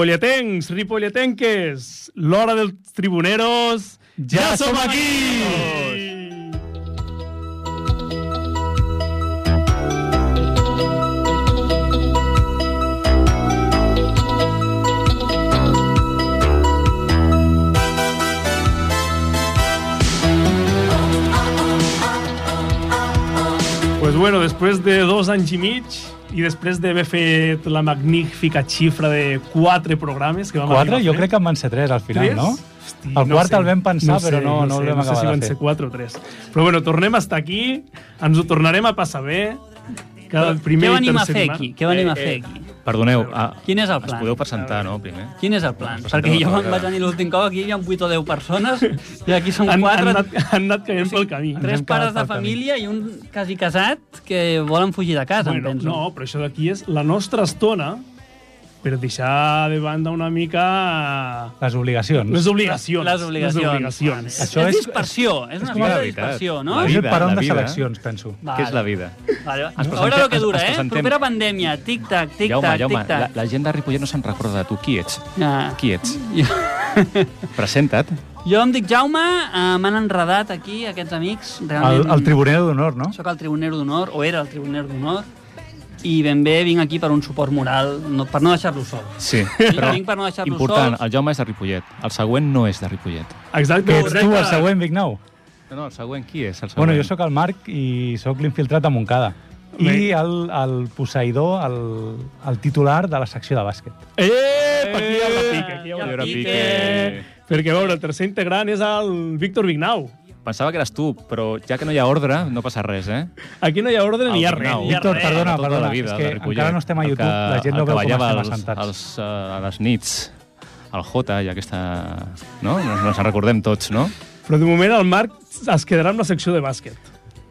Ripolletens, ripolletenques, l'hora dels tribuneros, ja, ja som aquí! Pues bueno, després de dos anys i mig i després d'haver fet la magnífica xifra de quatre programes que vam Quatre? arribar a Jo fer. crec que en van ser tres al final, Tres? no? Hosti, El quart sé. el vam pensar, però no- no sé, el vam No sé acabar si de van fer. ser quatre o tres. Però bueno, tornem a estar aquí, ens ho tornarem a passar bé. Cada primer Què i venim a tercer fer dimarts. aquí? Què venim a Eh, fer eh. aquí? Perdoneu, a, Quin és el es plan? podeu presentar, no, primer? Quin és el plan? Presentem Perquè la jo carrera. vaig venir l'últim cop, aquí hi havia 8 o 10 persones, i aquí som Han, han, 4, anat, han anat caient pel camí. Ens tres hem quedat pares de pel camí. família i un quasi casat que volen fugir de casa, em Bueno, penso. no, però això d'aquí és la nostra estona per deixar de banda una mica Les obligacions. les obligacions. Les obligacions. Les obligacions. Vale. Això és, és- dispersió, és una com cosa la de veritat. dispersió, no? La Hem vida, de parar la unes vida. eleccions, penso. Què és la vida? Vale. A presentem- veure el que ens- dura, ens eh? presentem. Propera pandèmia, tic-tac, Jaume, tic-tac, Jaume, la, tic-tac. la gent de Ripollet no se'n recorda de tu. Qui ets? Ah. Qui ets? Jo- Presenta't. Jo em dic Jaume, eh, m'han enredat aquí aquests amics. El, Realment... el tribuner d'honor, no? Soc el tribuner d'honor, o era el tribuner d'honor, i ben bé vinc aquí per un suport moral, no, per no deixar-lo sol. Sí, Però però vinc per no deixar-lo important, sol. el Jaume és de Ripollet. El següent no és de Ripollet. Exacte. Que ets tu el correcte. següent, Vignau. No, no, el següent qui és? El següent? Bueno, jo sóc el Marc i sóc l'infiltrat de Montcada. I el, el posseïdor, el, el titular de la secció de bàsquet. Ep, Eh, aquí hi ha una pica. Aquí hi ha Ja una era pique. Piqué. Perquè, a veure, el tercer integrant és el Víctor Vignau. Pensava que eres tu, però ja que no hi ha ordre, no passa res, eh? Aquí no hi ha ordre ni hi ha El res. Vignau. ni hi ha Víctor, res. perdona, Tota perdona, la vida és que de Ripollet. encara no estem a El YouTube, que- la gent no el que veu com ballava estem als- assentats. als, eh, a les nits, el Jota i aquesta... No? Ens ens en recordem tots, no? Però de moment el Marc es quedarà amb la secció de bàsquet.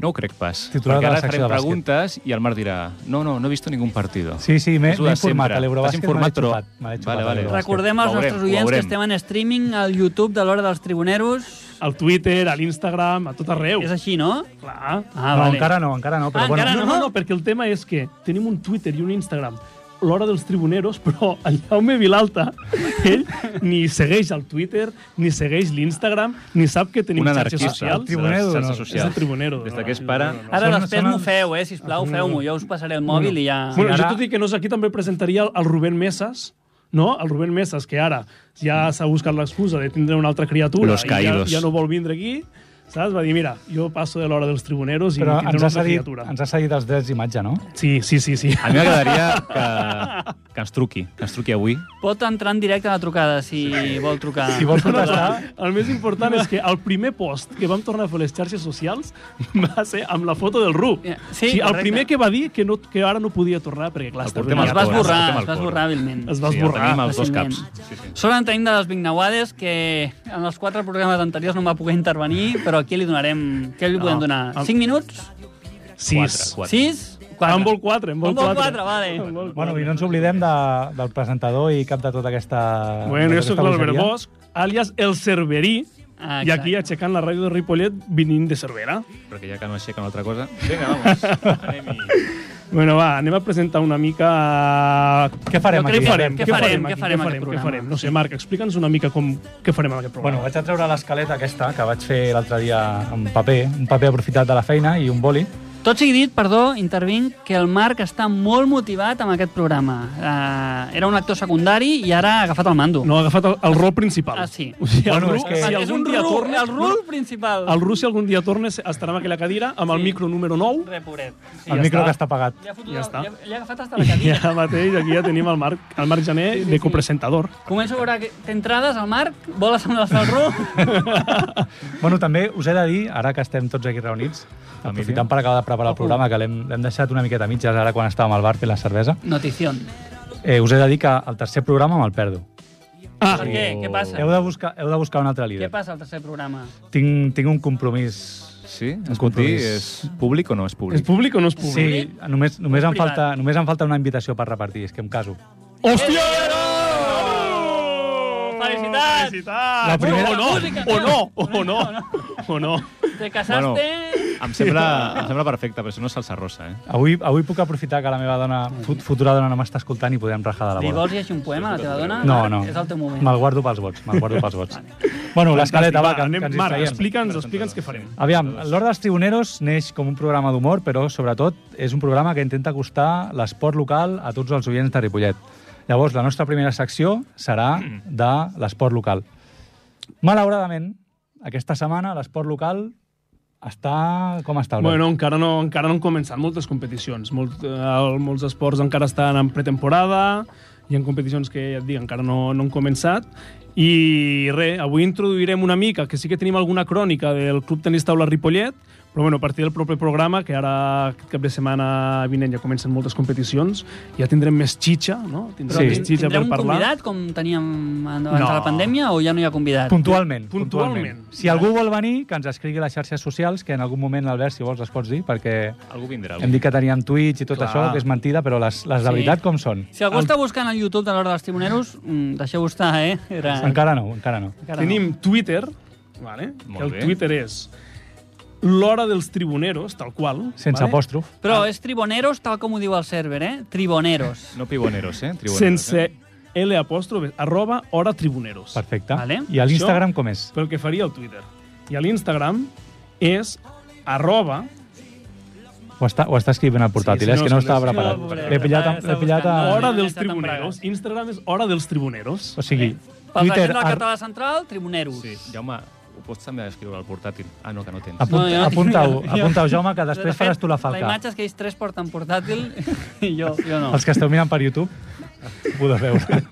No ho crec pas. Titular perquè de la ara secció farem de bàsquet. preguntes i el Marc dirà no, no, no he vist ningú partido. Sí, sí, m'he És lo de m'he informat. sempre. A l'Eurobàsquet T'has informat, me l'he però- xupat. Me l'he xupat Vale, a vale. l'Eurobàsquet. Recordem als Ho veurem, nostres ho oients que veurem. estem en streaming al YouTube de l'Hora dels Tribuneros. Al Twitter, a l'Instagram, a tot arreu. És així, no? Clar. Ah, no, vale. encara no, encara no. Però Ah, bueno, encara No, no, no, perquè el tema és que tenim un Twitter i un Instagram l'hora dels tribuneros, però el Jaume Vilalta, ell ni segueix el Twitter, ni segueix l'Instagram, ni sap que tenim Un xarxes anarquista. socials. El tribunero de les d'honor. xarxes socials. És el tribunero Des d'honor, de que és sí, pare... tribunero Ara Són- després són- m'ho feu, eh? Sisplau, Mm. feu-m'ho. Jo us passaré el mòbil i ja... Bueno, Ara- jo tot i que no és aquí també presentaria el Rubén Mesas, no? El Rubén Mesas, que ara ja s'ha buscat l'excusa de tindre una altra criatura Los i ja, caídos. ja no vol vindre aquí, saps? Va dir, mira, jo passo de l'hora dels tribuneros i però tindré ens una ha, altra cedit, criatura. ens ha cedit els drets d'imatge, no? Sí, sí, sí, sí. A mi m'agradaria que, que ens truqui, que ens truqui avui. Pot entrar en directe a la trucada, si vol trucar. Si vols protestar... El més important és que el primer post que vam tornar a fer les xarxes socials va ser amb la foto del Ru. Sí, el correcte. primer que va dir que, no, que ara no podia tornar perquè, clar, El estava portem donat. Es va al cor, esborrar, escoltem al es va cor. esborrar hàbilment. Es va esborrar. Sí, el tenim als dos Fàcilment. caps. Sí, sí. Sort en tenim de les Vignauades, que en els quatre programes anteriors no em va poder intervenir, però aquí li donarem... Què li No, podem donar? amb- 5 minuts? Sis. Quatre, quatre. 6? 4? En vol quatre, en vol quatre. quatre, vale. En vol Bueno, quatre. i no ens oblidem de, del presentador i cap de tota aquesta... Bueno, de jo tota sóc aquesta l'Albert bogeria. Bosch, alias El Cerverí, Ah, i exacte. aquí aixecant la ràdio de Ripollet vinint de Cervera. Perquè ja que no aixequen altra cosa... Vinga, vamos. Anem-hi. Bueno, va, anem a presentar una mica... Què farem Jo Què crec aquí? que- farem? Què farem? què farem? Què aquí? farem Què aquest Què programa? farem? No sé, Marc, explica'ns una mica com... Què farem amb aquest programa? Bueno, vaig a treure l'escaleta aquesta que vaig fer l'altre dia amb paper, un paper aprofitat de la feina i un boli. Tot sigui dit, perdó, intervinc, que el Marc està molt motivat amb aquest programa. Eh, era un actor secundari i ara ha agafat el mando. No, ha agafat el, el rol principal. Ah, sí. O sigui, Bueno, el és Ru, que- si és un algun dia ru- torna... el rul principal. El Ru, si algun dia torna, estarà amb aquella cadira, amb el Sí. micro número 9, Repobret. Sí, el ja micro està. que està apagat. ja, fotut, Ja ja està. està. Ja, ja ha agafat hasta la i cadira. ara mateix aquí ja tenim el Marc, el Marc Jané de copresentador. Començo a veure que té entrades al Marc, voles amb les del Ru. Bueno, també us he de dir, ara que estem tots aquí reunits, aprofitant per acabar de preparar el programa, que l'hem l'hem deixat una miqueta a mitges ara quan estàvem al bar fent la cervesa, Notición. eh, us he de dir que el tercer programa me'l perdo. Ah, Per què? Què passa? Heu de buscar, heu de buscar un altre Què líder. passa al tercer programa? Tinc, tinc un compromís Sí? Un Es pot dir? compromís. És públic o no és és públic? públic o no és públic? Sí, només, només, em privat. falta, només em falta una invitació per repartir, és que em caso. Hòstia! Felicitats! Felicitats! La primera- O no, Música, o no, clar. o no, o no. Te casaste... Em sembla, em sembla perfecte, però això no és salsa rosa, eh? Avui, avui puc aprofitar que la meva dona, fut- futura dona, no m'està escoltant i podem rajar de Li la bola. vols llegir un poema a la teva dona? No, Ara no. És el teu moment. Me'l guardo pels vots. Me'l guardo pels vots. bueno, l'escaleta, va, que, que ens Marc, distraiem. explica'ns, explica'ns què farem. Aviam, l'Hora dels Tribuneros neix com un programa d'humor, però sobretot és un programa que intenta acostar l'esport local a tots els oients de Ripollet. Llavors, la nostra primera secció serà de l'esport local. Malauradament, aquesta setmana l'esport local està... Com està? Albert? Bueno, encara no, encara no han començat moltes competicions. Molt, eh, el- molts esports encara estan en pretemporada, hi ha competicions que, ja et dic, encara no, no han començat. I res, avui introduirem una mica, que sí que tenim alguna crònica del Club Tenis Taula Ripollet, però bueno, a partir del proper programa, que ara aquest cap de setmana vinent ja comencen moltes competicions, ja tindrem més xitxa, no? Tindrem Sí. més xitxa per Tindrem un parlar. convidat, com teníem abans de la No. pandèmia, o ja no hi ha convidat? Puntualment, Puntualment. Si algú vol venir, que ens escrigui a les xarxes socials, que en algun moment, Albert, si vols, les pots dir, perquè Algú vindrà. hem dit que teníem Twitch i tot Clar. això, que és mentida, però les, les de Sí. veritat com són? Si algú està buscant al YouTube de l'Hora dels Tribuneros, mm, deixeu estar, eh? Era... Encara no, encara no. encara no. Tenim Twitter, vale? Molt que el bé. Twitter és l'hora dels tribuneros, tal qual. Sense vale? apòstrof. Però és Triboneros, tal com ho diu el server, eh? Triboneros. No piboneros, eh? Tribuneros, sense Eh? L apòstrofe, arroba hora tribuneros. Perfecte. Vale. I a l'Instagram com és? Pel que faria el Twitter. I a l'Instagram és arroba... Ho està, ho està escrivent al portàtil, Sí, eh? sí, és que no, no sí, estava sí, preparat. no, pobret, L'he pillat, amb- està l'he pillat a... buscant. Hora no, dels no, no, no, no, no, no, no, no, tribuneros. no, no, no, no, no, no, no. Instagram és hora dels tribuneros. O sigui, Pel Twitter, Twitter... de la ar- Català Central, Tribuneros. Sí, Jaume, ho pots també escriure al portàtil. Ah, no, que no tens. Apunta, No, jo- apunta-ho, jo- apunta Jaume, que De després fet, faràs tu la La falca. imatge és que ells tres porten portàtil i jo, jo no. Els que esteu mirant per YouTube, ho podeu veure.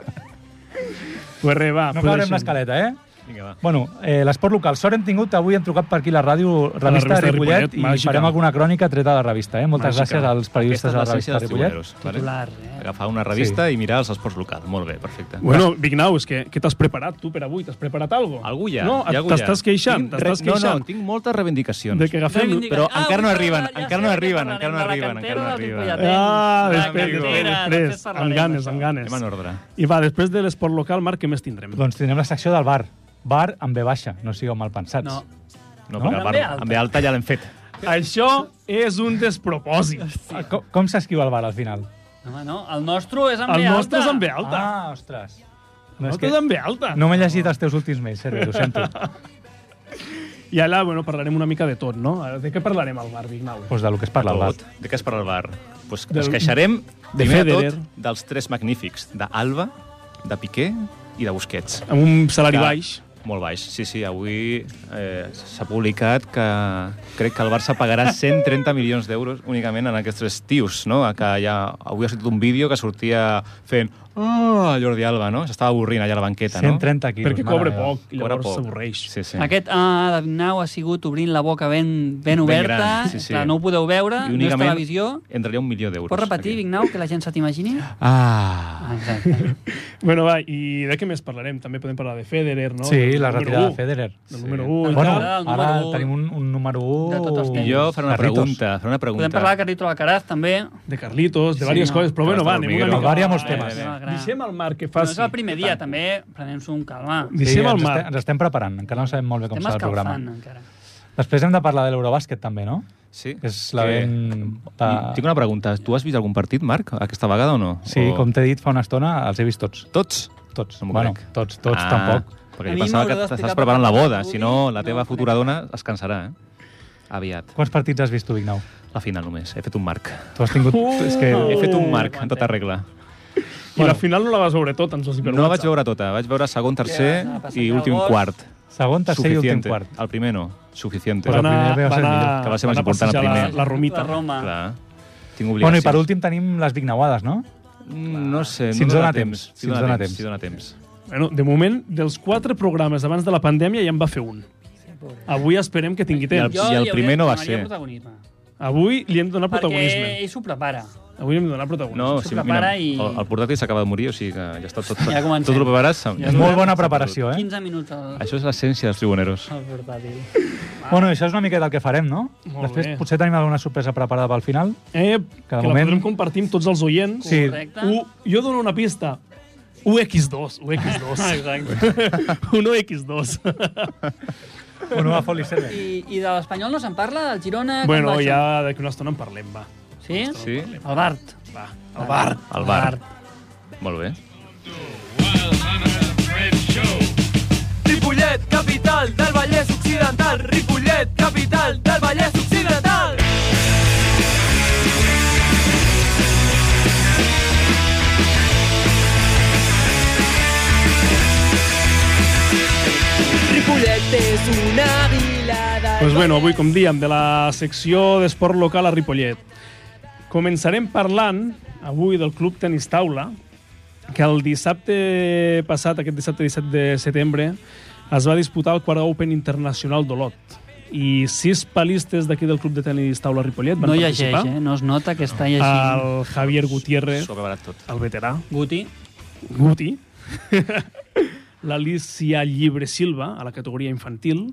Pues re, va, No pues acabarem deixem. l'escaleta, eh? Vinga, va. Bueno, eh, l'esport local. Sort hem tingut, avui hem trucat per aquí la ràdio revista, la revista de Ripollet, i màgica. farem alguna crònica treta de la revista. Eh? Moltes Màgica. gràcies als periodistes de la Aquesta és revista la de ciència Ripollet. dels tribuneros. Vale? Titular, eh? Agafar una revista i mirar els esports locals. Molt bé, perfecte. Bueno, Vignau, és que què t'has preparat tu per avui? T'has preparat algo? Algú ja. No, hi ha algú t'estàs ja. queixant, Tinc t'estàs re- No, queixant. no, tinc moltes reivindicacions. de que agafem... Reivindica- però encara no ah, ja arriben, sé encara no que arriben, parlarem encara no de la arriben, cantera encara no dels arriben. ripolletens. Ah, De la després, amigo. després, cantera, després, després parlarem amb ganes, d'això. amb ganes. Anem en ordre. I va, després de l'esport local, Marc, què més tindrem? Doncs tindrem la secció del bar. Bar amb B baixa, no sigueu mal pensats. No. No? No, perquè Amb part, ve alta. amb ve alta ja l'hem fet. Això és un despropòsit. Ah, Com, com s'esquiu el bar al final? Home, no, el nostre és amb El B alta. nostre és en B alta. Ah, ostres. El No, és nostre que és en B alta. no m'he llegit els teus últims mails, Sergi, ho sento. I ara, bueno, parlarem una mica de tot, no? De què parlarem al bar, Vignau? pues de lo que es parla el bar. Tot. De què es parla el bar? Pues Del- ens queixarem, de primer de Federer. tot, dels tres magnífics, d'Alba, de Piqué i de Busquets. Amb un salari Que- baix. Molt baix. Sí, sí, avui eh, s'ha publicat que crec que el Barça pagarà 130 milions d'euros únicament en aquests tres tios, no? Que ja, avui ha sortit un vídeo que sortia fent oh, Jordi Alba, no? S'estava avorrint allà a la banqueta, no? 130 quilos. Perquè mare cobra meva. poc, i Cobra llavors poc. s'avorreix. Sí, sí. Aquest A de Vignau ha sigut obrint la boca ben, ben oberta, gran, sí, sí. Clar, no ho podeu veure, I no és únicament televisió. entraria un milió d'euros. Pots repetir, aquí. Vignau, que la gent se t'imagini? Ah! Ah, exacte. Bueno, va, i de què més parlarem? També podem parlar de Federer, no? Sí, Del la número retirada u, de Federer. Del Sí. número 1 Bueno, Retirada del número ara u. tenim un, un número 1... De tots els temps. I jo faré una pregunta, faré una pregunta. Podem parlar de Carlito Alcaraz, també. de Carlitos, de Sí, diverses no. coses, però bueno, va, anem una Hormiguero. mica... Hi ha molts Eh, temes. eh, Gran. Deixem el Marc que Però és faci... el primer dia, també. Prenem-s'ho amb calma. Sí, Deixem el ens, estem, Marc. ens estem preparant, encara no sabem molt bé com Estem serà el programa. escalfant, encara. Després hem de parlar de l'Eurobàsquet, també, no? Sí. Que és la Que- ben... I Tinc una pregunta. Tu has vist algun partit, Marc, aquesta vegada o no? Sí, o... com t'he dit fa una estona, els he vist tots. Tots? Tots. No m'ho bueno, crec. tots, tots, ah, tampoc. Perquè A mi jo pensava que m'haureu d'explicar t'estàs preparant la per què boda, no si no la vull- teva no, futura crec. dona es cansarà, eh? Aviat. Quants partits has vist tu, Vignau? La final només, he fet un marc. Tu has tingut... Uh! és que... He fet un marc, aguanta. en tota regla. I la final no la vas veure tot, ens vas dir per No la vaig WhatsApp. veure tota, vaig veure segon, tercer Ja, passa i que últim llavors- quart. Segon, tercer i últim Suficiente. quart. El primer no, suficiente. Va Però anar, el primer va va ser el anar, millor. Que va ser va anar més a important, el passejar primer. La, la romita. La Roma. Clar, tinc obligacions. Bueno, i per últim tenim les Vignauades, no? Mm, No sé, Si no ens dóna dona temps, Si ens dóna temps. Si dóna temps. Bueno, de moment, dels quatre programes abans de la pandèmia ja en va fer un. Avui esperem que tingui I el- temps. i el li primer no va donaria ser. protagonisme, Avui li hem de donar Perquè protagonisme. ell s'ho prepara. Eh? Avui li hem de donar protagonisme. No, S'ho sí, prepara mira, i- el, el portàtil s'acaba de morir, o sigui que ja està tot... Ja comencem. tot el preparat. És molt bona preparació, eh? 15 minuts al, Això és l'essència dels tribuneros. al portàtil. Ah. Bueno, això és una miqueta el que farem, no? Molt Després bé. potser tenim alguna sorpresa preparada pel final. Eh, que Cada la moment- podrem compartir amb tots els oients. Sí. Correcte. U, jo dono una pista. Ah, UX2, UX2. Exacte. 1X2. Un home fot li serve. I, i de l'Espanyol no se'n parla? Del Girona? com Bueno, va això? ja d'aquí una estona en parlem, va. Sí? Sí? El Bart. Va, al bar. Al bar. Molt bé. Ripollet, capital del Vallès Occidental. Ripollet, capital del Vallès Occidental. Ripollet és una vila de... Doncs pues bueno, avui, com diem, de la secció d'esport local a Ripollet. Començarem parlant avui del Club Tenis Taula, que el dissabte passat, aquest dissabte 17 de setembre, es va disputar el quart Open Internacional d'Olot. I sis palistes d'aquí del Club de Tenis Taula Ripollet van No llegeix, participar. eh? No es nota que està llegint. El Javier Gutiérrez, Sobrebarat tot. el veterà, Guti. Guti, l'Alicia Llibre Silva, a la categoria infantil,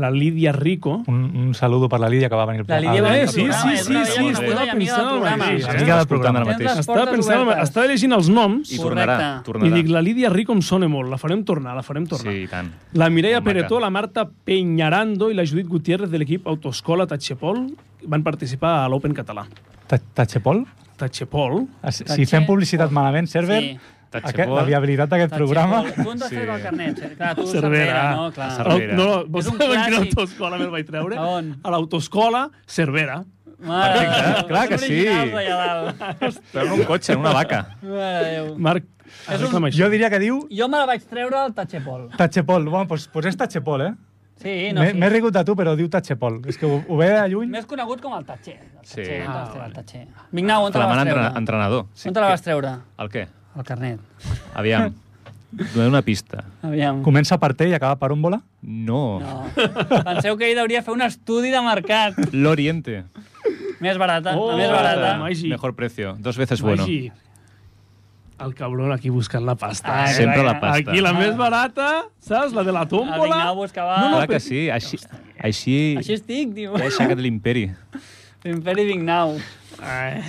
la Lídia Rico, Un, un saludo per la Lídia que va venir al La al- Lídia va Eh, venir al sí, sí, programa, és sí, una sí, vella estava coneguda i amiga pensant del el programa. mateix. Eh? Amiga del Escoltant programa. ara mateix. Tens les Estava, pensant, Portes estava llegint els noms I i, tornarà, Correcte. i tornarà. dic, la Lídia Rico em sona molt, la farem tornar, la farem tornar. Sí, i tant. La Mireia Molt maca. Peretó, la Marta Peñarando i la Judit Gutiérrez de l'equip Autoscola Tachepol van participar a l'Open català. Ta- Tachepol? Tachepol, Ah, Si si fem publicitat malament, Server, Sí. aquest, Tachepol. la viabilitat d'aquest programa... Punt de fer el carnet. eh? Clar, tu Cervera. Cervera, no? Clar. A Cervera. No, no, És vos un saben quina clàssic. autoscola me'l vaig treure? A on? A l'autoescola Cervera. Mare de Perfecte, Déu, clar que són sí. originals d'allà dalt. Però en un cotxe, en una vaca. Mare de Déu. Marc, És un- arregla'm Jo això. diria que diu Jo me la vaig treure al Tachepol. Tachepol. Bueno, doncs, doncs és Tachepol, eh? Sí, no, M'he sí. m'he rigut de tu, però diu Tachepol. És que ho, ho veia de lluny. Més conegut com el Tatxer. El Sí. Tatxer, Ah, el Tatxer. Vignau, on te la vas Flamant treure? entrena- entrenador. Sí, On te la vas què- treure? El què? El carnet. Aviam. Donem una pista. Aviam. Comença per T i acaba per on vola? No. No. Penseu que ell hauria fer un estudi de mercat. L'Oriente. Eh, Més barata, Oh, la més barata. Magi. Maggi. Mejor precio. Dos veces bueno. Vagi. El cabrón aquí buscant la pasta. Ah, eh? Sempre la pasta. Aquí la Ah. més barata, saps? La de la El tómbola. Vignau buscava... No, Clar que sí. Així... Així... Així estic, diu. T'he aixecat l'imperi. L'imperi Vignau. Ai.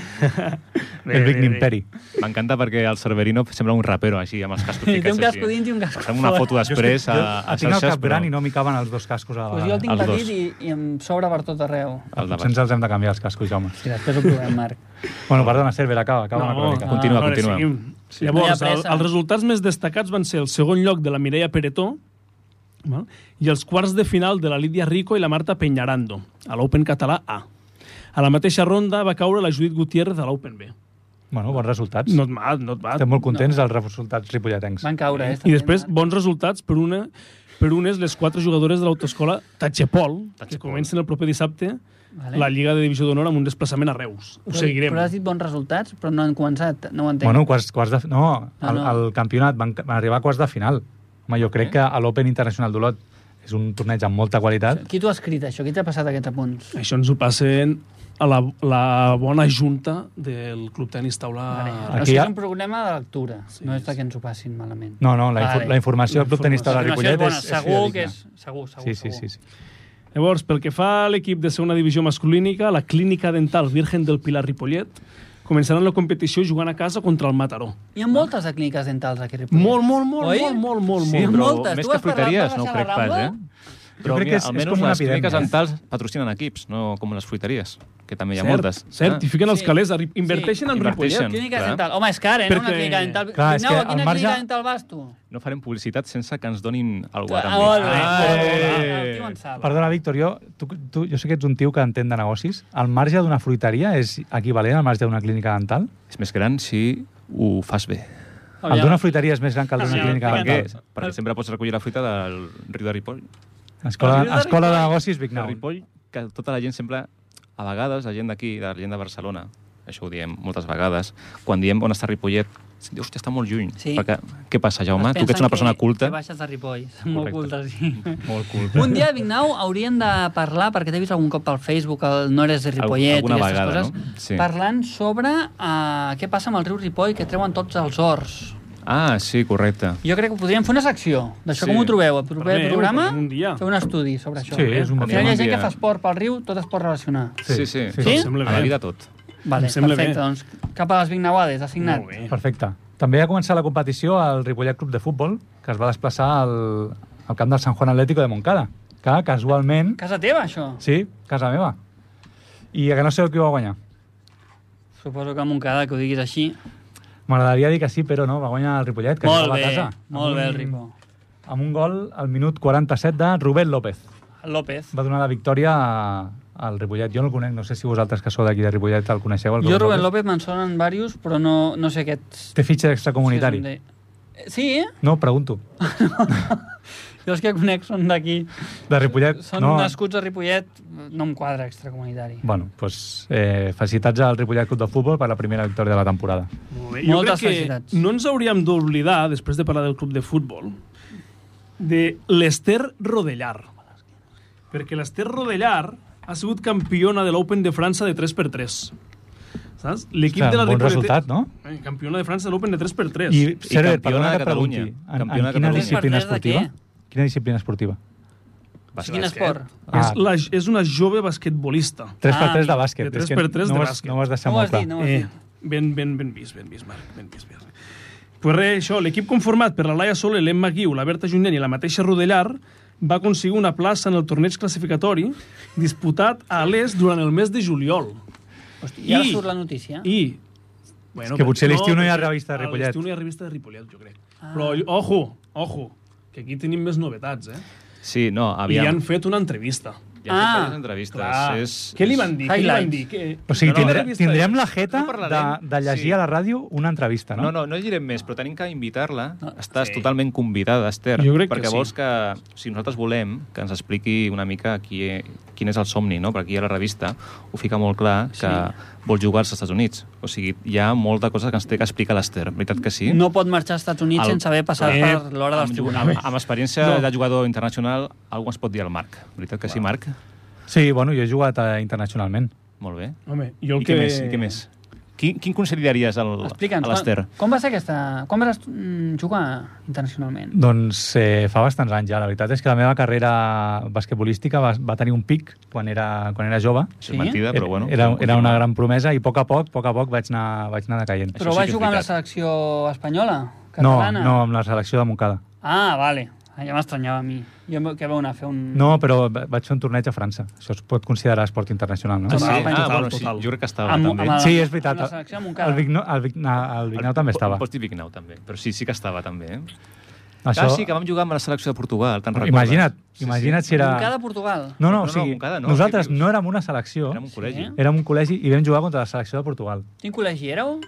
Bé, El Big bé, bé. Imperi. M'encanta perquè el Cerverino sembla un rapero, així, amb els cascos Té ficats. un casco dins i un casco Fem una fora. foto després a, a tinc el xarxes, cap però... gran i no m'hi caben els dos cascos a la Pues jo el tinc Els dos. petit i, i em sobra per tot arreu. Al Potser davant. ens els hem de canviar, els cascos, Jaume. Si després ho provem, Marc. Bueno, perdona, Cerver, acaba, acaba no. una crònica. Continua, a veure, continua. seguim. Sí. No hi ha Llavors, el, pressa. els resultats més destacats van ser el segon lloc de la Mireia Peretó val? i els quarts de final de la Lídia Rico i la Marta Peñarando, a l'Open català A. A la mateixa ronda va caure la Judit Gutiérrez de l'Open B. Bueno, bons resultats. Not bad, not bad. Estem molt contents dels resultats ripolletens. Van caure, eh? I després, bons resultats per una per unes les quatre jugadores de l'autoescola Tachepol, que comencen el proper dissabte Vale. la Lliga de Divisió d'Honor amb un desplaçament a Reus. Ho seguirem. Però has dit bons resultats, però no han començat. No ho entenc. Bueno, quarts, quarts de... No, No, el, no. el campionat van, van arribar a quarts de final. Home, jo crec que a l'Open Internacional d'Olot és un torneig amb molta qualitat. Qui t'ho ha escrit, això? Qui t'ha passat aquests apunts? Això ens ho passen a la, la bona junta del Club Tenis Taula. Vale. Vale. Ah. Aquí hi o sigui, ha- és un problema de lectura, sí, no és de que ens ho passin malament. No, no, la, infor Vale. la informació del Club Tenis Taula La informació Ripollet bona, és, és segur fidedigna. que és... Segur, segur, Sí, sí, sí, segur. sí. Llavors, pel que fa a l'equip de segona divisió masculínica, la Clínica Dental Virgen del Pilar Ripollet començaran la competició jugant a casa contra el Mataró. Hi ha moltes de clíniques dentals aquí a Ripollet. Molt, molt, molt, Oi? molt, molt, molt, Sí, molt. però Moltes. Tu més que vas parlar de fruiteries, no ho baixar crec la pas, Rambla? eh? Però crec que mira, és- és almenys com una les clíniques epidèmia. dentals patrocinen equips, no com les fruiteries, que també hi ha Cert, moltes. Ah. eh? Cert, i fiquen els Sí. calés, arri- inverteixen en Inverteixen. Ripollet. Clínica Clar. dental. Home, és car, eh? No una Perquè- clínica dental. Clar, és Vignau, que a quina al marge- clínica dental vas tu? No farem publicitat sense que ens donin alguna Ah, cosa. molt bé. Ah, El tio en sap. Perdona, Víctor, jo, tu, tu, jo sé que ets un tio que entén de negocis. El marge d'una fruiteria és equivalent al marge d'una clínica dental? És més gran si ho fas bé. Oh, El d'una fruiteria és més gran que el d'una Aviam, clínica Per què? dental. Perquè sempre pots recollir la fruita del riu de Ripoll. Escola, El de escola de negocis Big De Now. Ripoll, que tota la gent sempre, a vegades, la gent d'aquí, la gent de Barcelona, això ho diem moltes vegades, quan diem on està Ripollet, diu, hòstia, està molt lluny. Sí. Perquè, què passa, Jaume? Es Tu que ets pensen una persona culta. Que baixes de Ripoll. Són Molt Correcte. cultes, sí. Molt culta. Un dia, Vignau, hauríem de parlar, perquè t'he vist algun cop pel Facebook, el No eres de Ripollet Alguna i aquestes vegada, coses, no? Sí. parlant sobre uh, què passa amb el riu Ripoll, que treuen tots els horts. Ah, sí, correcte. Jo crec que podríem fer una secció d'això. Sí. Com ho trobeu? El proper Parlem, programa, parlem un dia. fer un estudi sobre això. Sí, és un Al bon final hi ha tema. gent que fa esport pel riu, tot es pot relacionar. Sí, sí. Sí? Tot, Em sembla A la bé. vida tot. Vale, Em sembla perfecte. bé. Doncs cap a les Vignauades, assignat. Molt bé. Perfecte. També ha començat la competició al Ripollet Club de Futbol, que es va desplaçar al, al camp del San Juan Atlético de Montcada. que casualment... Casa teva, això? Sí, casa meva. I a que no sé qui va guanyar. Suposo que a Montcada, que ho diguis així. M'agradaria dir que sí, però no, va guanyar el Ripollet, que molt jugava bé, a casa. Mm. molt bé el Amb Ripo. un- Amb un gol al minut 47 de Rubén López. López. Va donar la victòria a- al Ripollet. Jo no el conec, no sé si vosaltres que sou d'aquí de Ripollet el coneixeu. El Jo, Rubén López, me'n sonen diversos, però no, no sé aquests... Té fitxa extracomunitari. Sí, sí, eh? No, pregunto. jo els que conec són d'aquí. De Ripollet, Són no... nascuts a Ripollet, no em quadra extracomunitari. Bueno, doncs, eh, felicitats al Ripollet Club de Futbol per la primera victòria de la temporada. Molt bé. Moltes jo crec felicitats. que no ens hauríem d'oblidar, després de parlar del club de futbol, de l'Ester Rodellar. Perquè l'Ester Rodellar ha sigut campiona de l'Open de França de 3x3. Saps? L'equip Ostres, de la bon Ripollet- resultat, no? Eh, Campiona de França de l'Open de 3x3. I, I... Server, campiona perdona de que et Catalunya. pregunti, en, Campiona en de quina Catalunya. disciplina Per tres de eh? esportiva? què? Quina disciplina esportiva? Quin esport? Ah. És, la, és una jove basquetbolista. 3x3 amic. de bàsquet. De és que 3x3 no de ho has- bàsquet. No ho has deixat Ah, No ho molt has clar. dit, no ho has Eh, dit. ben, ben, ben vist, ben vist, Marc. Ben vist, ben vist. Pues res, això, l'equip conformat per la Laia Soler, l'Emma Guiu, la Berta Junyent i la mateixa Rodellar va aconseguir una plaça en el torneig classificatori disputat a l'est durant el mes de juliol. Hosti, I ara I- surt la notícia. I... Bueno, És que potser a l'estiu no hi ha potser revista de Ripollet. A l'estiu no hi ha revista de Ripollet, jo crec. Ah. Però, ojo, ojo, que aquí tenim més novetats, eh? Sí, no, Aviam. I aviam. han fet una entrevista. Hi ha Ah, ah, entrevistes. Clar. És, Què li van dir? Què li van Highlights. dir? Que... O sigui, No, no, tindre, revista tindrem és. la jeta No de, parlarem. de llegir Sí. a la ràdio una entrevista, no? No, no, no direm més, però tenim que invitar-la. Estàs sí. totalment convidada, Esther. Jo crec que perquè sí. vols que, si nosaltres volem, que ens expliqui una mica qui, e- quin és el somni, no? Perquè aquí a la revista ho fica molt clar que vol jugar als Estats Units. O sigui, hi ha molta cosa que ens té que explicar l'Esther. Veritat que sí? No pot marxar als Estats Units El- sense haver passat Eh, per l'hora dels Amb, tribunals. amb, amb experiència de jugador internacional, algú ens pot dir el Marc. Veritat que sí, Marc? Sí, bueno, jo he jugat eh, internacionalment. Molt bé. Home, jo el I què que... més? I què més? Quin, quin consell li daries al, a Explica'ns, l'Ester? com, com va ser aquesta... Com vas mm, jugar internacionalment? Doncs eh, fa bastants anys ja. La veritat és que la meva carrera basquetbolística va, va tenir un pic quan era, quan era jove. Això Sí? és mentida, però bueno. era, era continua. una gran promesa i a poc a poc, poc a poc vaig anar, vaig anar decaient. Això Però sí vas que és jugar amb la veritat. selecció espanyola? No, Catalana? no, amb la selecció de Montcada. Ah, vale. Ah, Ja m'estranyava a mi. Jo em- què vau anar a fer un... No, però va- vaig fer un torneig a França. Això es pot considerar esport internacional, no? Ah, sí? Total, Ah, total, bueno, sí, total. jo crec que estava Amb- també. amb el- Sí, és veritat. amb la selecció de Montcada. El Vignau, el Vignau, el Vignau també estava. Pots dir Vignau, també. Però sí, sí que estava, també. Eh? Això... Això... Ah, sí, que vam jugar amb la selecció de Portugal, te'n recordes? Imagina't, imagina't si era... Montcada, Portugal. No, no, No, o no, sigui, Montcada no, nosaltres què dius? no érem una selecció, Érem un col·legi. Sí. érem un col·legi i vam jugar contra la selecció de Portugal, Quin col·legi éreu?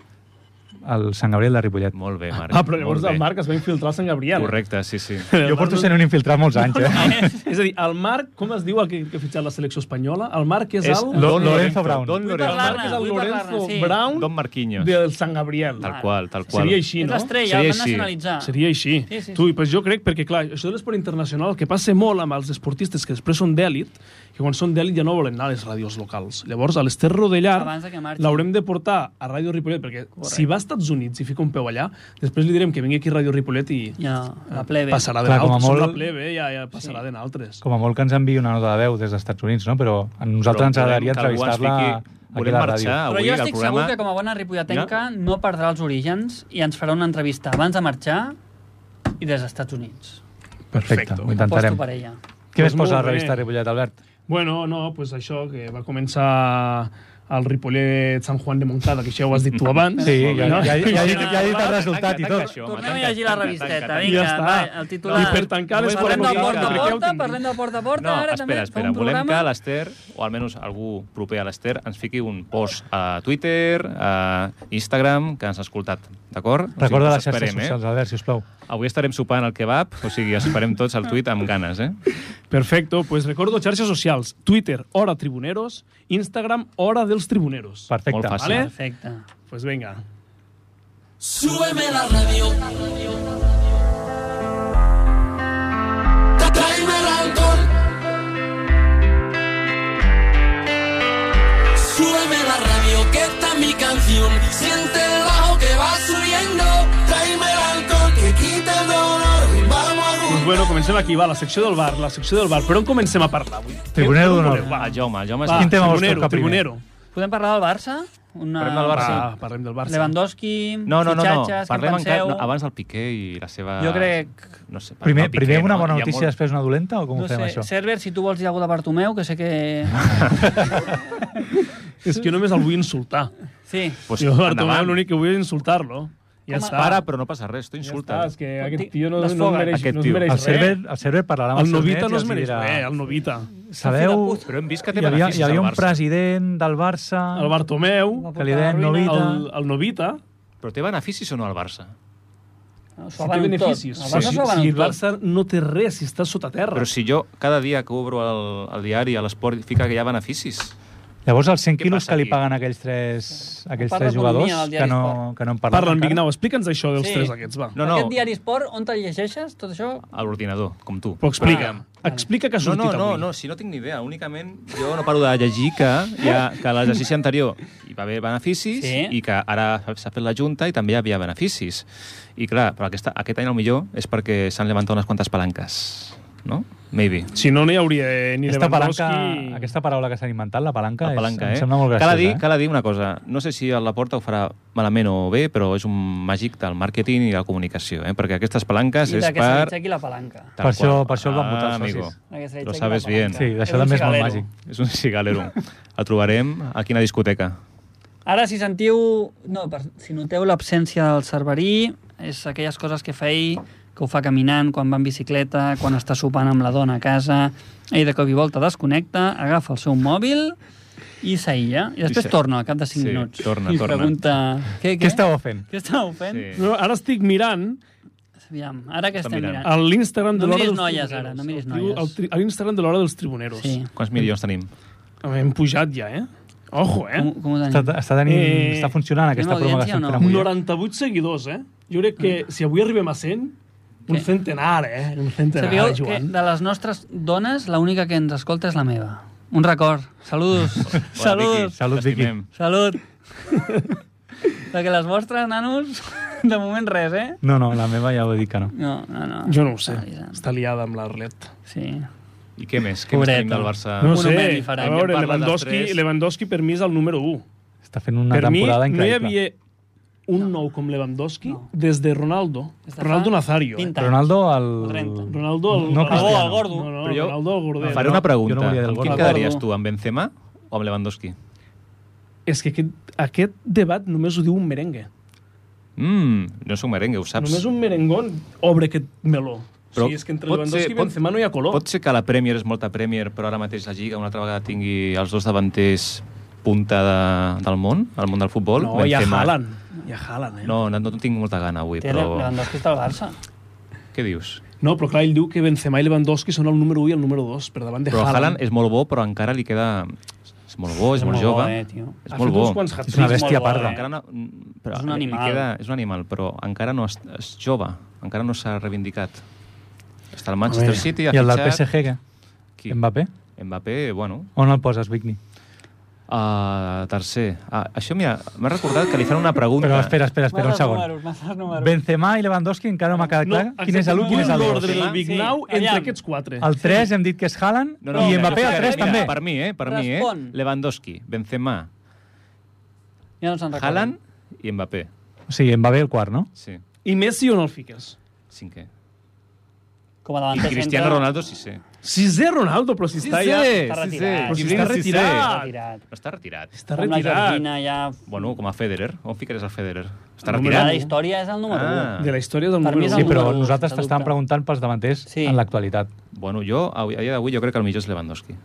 al Sant Gabriel de Ripollet. Molt bé, Marc. Ah, però llavors molt bé. el Marc es va infiltrar al Sant Gabriel. Correcte, sí, sí. Jo porto sent un infiltrat molts anys, eh? És a dir, el Marc, com es diu el que, que ha fitxat la selecció espanyola? El Marc és, És el... Lo- Lorenzo Brown. Don Vull El Marc Lorenzo. és el Vull Lorenzo parlar-ne, sí. Brown Don Marquinhos. del Sant Gabriel. Tal qual, tal qual. Seria així, És no? l'estrella, el Seria van així. nacionalitzar. Seria així. Ah. Sí, sí, Tu, pues jo crec, perquè clar, això de l'esport internacional, el que passa molt amb els esportistes que després són d'èlit, que quan són d'èlit ja no volen anar a les ràdios locals. Llavors, a l'Ester Rodellar Abans de que marxi. l'haurem de portar a Ràdio Ripollet, perquè si va als Estats Units i fica un peu allà, després li direm que vingui aquí a Ràdio Ripollet i eh, Ja, la plebe. passarà de Clar, com a naltres. molt- Són la plebe, ja, ja passarà sí. de naltres. Com a molt que ens enviï una nota de veu des dels Estats Units, no? Però a nosaltres Però ens agradaria volem que algú ens entrevistar-la fiqui- aquí Volem a la marxar ràdio. Però avui jo al estic programa. segur que com a bona ripollatenca no perdrà els orígens i ens farà una entrevista abans de marxar i des dels Estats Units. Perfecte, ho Aposto intentarem. per ella. Què Doncs més posa molt la revista bé. Ripollet, Albert? Bueno, no, pues això, que va començar al Ripollet Sant Juan de Montcada, que això ja ho has dit tu abans. Sí, ja, no? ja, ja, ja, no, ja he dit tanca, el resultat i tanca tot. això, home, Tornem a tanca, llegir la tanca, revista, tanca, tanca. Ja vinga, està. va, el titular. I per tancar les Parlem volem del porta a explicar. porta, Expliqueu-ho. parlem del porta a porta, No, ara també espera, espera. fem un Volem que programa. l'Ester, o almenys algú proper a l'Ester, ens fiqui un post a Twitter, a Instagram, que ens ha escoltat, d'acord? O Recorda us les xarxes esperem, socials, Albert, sisplau. Eh? Avui estarem sopant al kebab, o sigui, esperem tots al tuit amb ganes, eh? Perfecto, pues recordo xarxes socials, Twitter, Hora Tribuneros, Instagram, Hora dels Tribuneros. Perfecte. fàcil. Vale? Perfecte. Pues venga. Súbeme la radio. Tráeme el alcohol. Súbeme la radio, que esta es mi canción. Siente el bajo que va subiendo. Tráeme el alcohol, que quita el dolor. Y vamos a Pues gustar. bueno, comencem aquí, va, la secció del bar, la secció del bar. Per on comencem a parlar avui? Per Tribunero on d'honor. voleu? Va, el Jaume, el Jaume... Va, Quin tema vols tribunero, tocar primer? tribunero. Podem parlar del Barça? Una... Parlem del Barça. Va, parlem del Barça. Lewandowski, No, no, no, no. fitxatges, Parlem què encara, penseu? no, abans del Piqué i la seva... Jo crec- No sé, parlem Primer, del Piqué, primer una no? bona Hi ha notícia, molt- després una dolenta, o com no ho fem, sé, això? Server, si tu vols dir alguna cosa a Bartomeu, que sé que... És que jo només el vull insultar. Sí. Pues, jo, Bartomeu, endavant. l'únic que vull és insultar-lo. Ja Home, està. Para, però no passa res, tu ja insulta. està, és que aquest tio no, no Desfoga. es mereix, Aquest no es tio. mereix El res. server, el server parlarà amb el els seus Novita nets no i es els mereix dirà... res, el Novita. Sabeu, Però hem vist que té hi havia, beneficis hi havia al un Barça. president del Barça El Bartomeu, que li deien Arruïna. Novita. el, el Novita, Però té beneficis o no al Barça? si S'ho té avalen tot. beneficis. El Barça si, s'ho avalen si el tot. Barça no té res, si està sota terra. Però si jo cada dia que obro el, el diari a l'esport fica que hi ha beneficis. Llavors, els 100 Què quilos passa que li aquí? paguen aquells tres, aquells Parla tres jugadors, economia al que diari no, Sport. que no en parlen Parla'm, encara. Vignau, explica'ns això dels Sí. tres aquests, va. No, no, Aquest diari esport, on te'l llegeixes, tot això? a l'ordinador, com tu. Però explica, explica que ha No, sortit no, no, avui. no, si no tinc ni idea. Únicament jo no paro de llegir que, ja, que a l'exercici anterior hi va haver beneficis Sí. i que ara s'ha fet la Junta i també hi havia beneficis. I clar, però aquesta, aquest any el millor és perquè s'han levantat unes quantes palanques, no? Maybe. Si no, no hi hauria eh, ni Aquesta, Lewandowski... palanca, aquesta paraula que s'han inventat, la palanca, La és, palanca, eh? em sembla molt graciosa. cal, dir, eh? cal dir una cosa. No sé si el Laporta ho farà malament o bé, però és un màgic del màrqueting i de la comunicació, eh? perquè aquestes palanques I és la que se li per... aixequi la palanca. Tal Per això- qual. Ah, per això el van votar els amigo. socis. La que se li Lo aixequi sabes la palanca. bien. Sí, És d'això un també és molt cigalero. màgic. És un cigalero. El trobarem a quina discoteca? Ara, si sentiu... No, per... si noteu l'absència del cerverí, és aquelles coses que fa ell, que ho fa caminant, quan va en bicicleta, quan està sopant amb la dona a casa... Ell de cop i volta desconnecta, agafa el seu mòbil i s'aïlla. I després I se- torna al cap de 5 Sí, minuts. torna, I torna. pregunta... Què, què? Què estàveu fent? Què estàveu fent? Sí. No, ara estic mirant Aviam, ara que Està estem mirant. mirant. a l'Instagram de No l'hora miris dels noies, tribuneros. ara, no miris El tribu- noies. el tri- A l'Instagram de l'hora dels tribuneros. Sí. Quants milions tenim? Hem pujat ja, eh? Ojo, eh? Com, com ho Està, tenim? està, tenint, Eh, està funcionant tenim aquesta broma que audiència o estem no? Ah, fent avui. eh? 98 seguidors, eh? Jo crec que si avui arribem a 100, un Sí. centenar, eh? Un centenar, Sabíeu que Joan. de les nostres dones, l'única que ens escolta és la meva. Un record. Saludos. Hola, Saludos. Vicky. Salut, Vicky. T'estimem. Salut. Perquè les vostres, nanos, de moment res, eh? No, no, la meva ja ho dic que no. No, no, no. Jo no ho sé. Avisa'm. Està liada amb l'Arlet. Sí. I què més? Què més Pobreta. tenim del Barça? No Un sé, homenatge farà. a veure, Parla dels Lewandowski, tres. Lewandowski per mi és el número 1. Està fent una per mi temporada no hi increïble. havia un nou com Lewandowski No. des de Ronaldo. Des de Ronaldo fa Nazario. eh? vint Ronaldo, el... El 30. Ronaldo el, No, Cristiano. el gordo. No, no, Però jo Ronaldo el gordet. Faré una Jo pregunta. no volia dir el amb qui gol. quedaries Gordo. tu, amb Benzema o amb Lewandowski? És que aquest, aquest debat només ho diu un merengue. Mm, no sóc merengue, ho saps. Només un merengon obre aquest meló. Però o sigui, és que entre pot Lewandowski ser- i Benzema no hi ha color. Pot ser que la Premier és molta Premier, però ara mateix la Lliga una altra vegada tingui els dos davanters punta de, del món, al món del futbol. no, hi ha Benzema- Haaland. Hi ha Haaland, eh? No, no, no tinc molta gana avui, Té però... Lewandowski està al Barça. Què dius? No, però clar, ell diu que Benzema i Lewandowski són el número 1 i el número 2, per davant de Però Haaland Haaland. és molt bo, però encara li queda... És molt bo, és, molt, jove. eh, tio. és molt Ha fet bo. uns quants És una hat-tricks. eh? bèstia a molt part. bona, de- Encara no, però És un li animal. Queda, és un animal, però encara no és, és jove. Encara no s'ha reivindicat. Està al A Manchester veure. City, ha I el del fitxat... PSG, què? Qui? Mbappé? Mbappé, bueno... On el poses, Vigny? Uh, tercer. Ah, això mira, m'ha recordat que li fan una pregunta. Però espera, espera, espera, un Masses segon. números, masses números. Benzema i Lewandowski encara no m'ha quedat clar exacte, quin és l'1 quin és vull l'2. l'ordre del Big Sí, Now entre aviam. aquests quatre. El 3 hem dit que és Haaland i mira, Mbappé mira, el 3 mira, també. Per mi, eh? Per mi, eh? Respon. Lewandowski, Benzema, Ja no se'n recorda. Haaland i Mbappé. O sigui, Mbappé el quart, no? Sí, I Messi on el fiques? cinquè. Com a davant I Cristiano Ronaldo, sí, sí. Sisè Ronaldo, però si està ja... Està Però Ah, retirat. sí, si I està Vinicius, retirat. Retirat. No està retirat. Està Amb la retirat. Georgina ja... Bueno, com a Federer. On ficaries el Federer? Està Número Mira, retirat. la història és el número Ah. 1. De la història del Per número mi és Sí, el 1. però número dos, nosaltres sens t'estàvem dubte. preguntant pels davanters Sí. en l'actualitat. Bueno, jo, a a dia d'avui, jo crec que el millor és Lewandowski.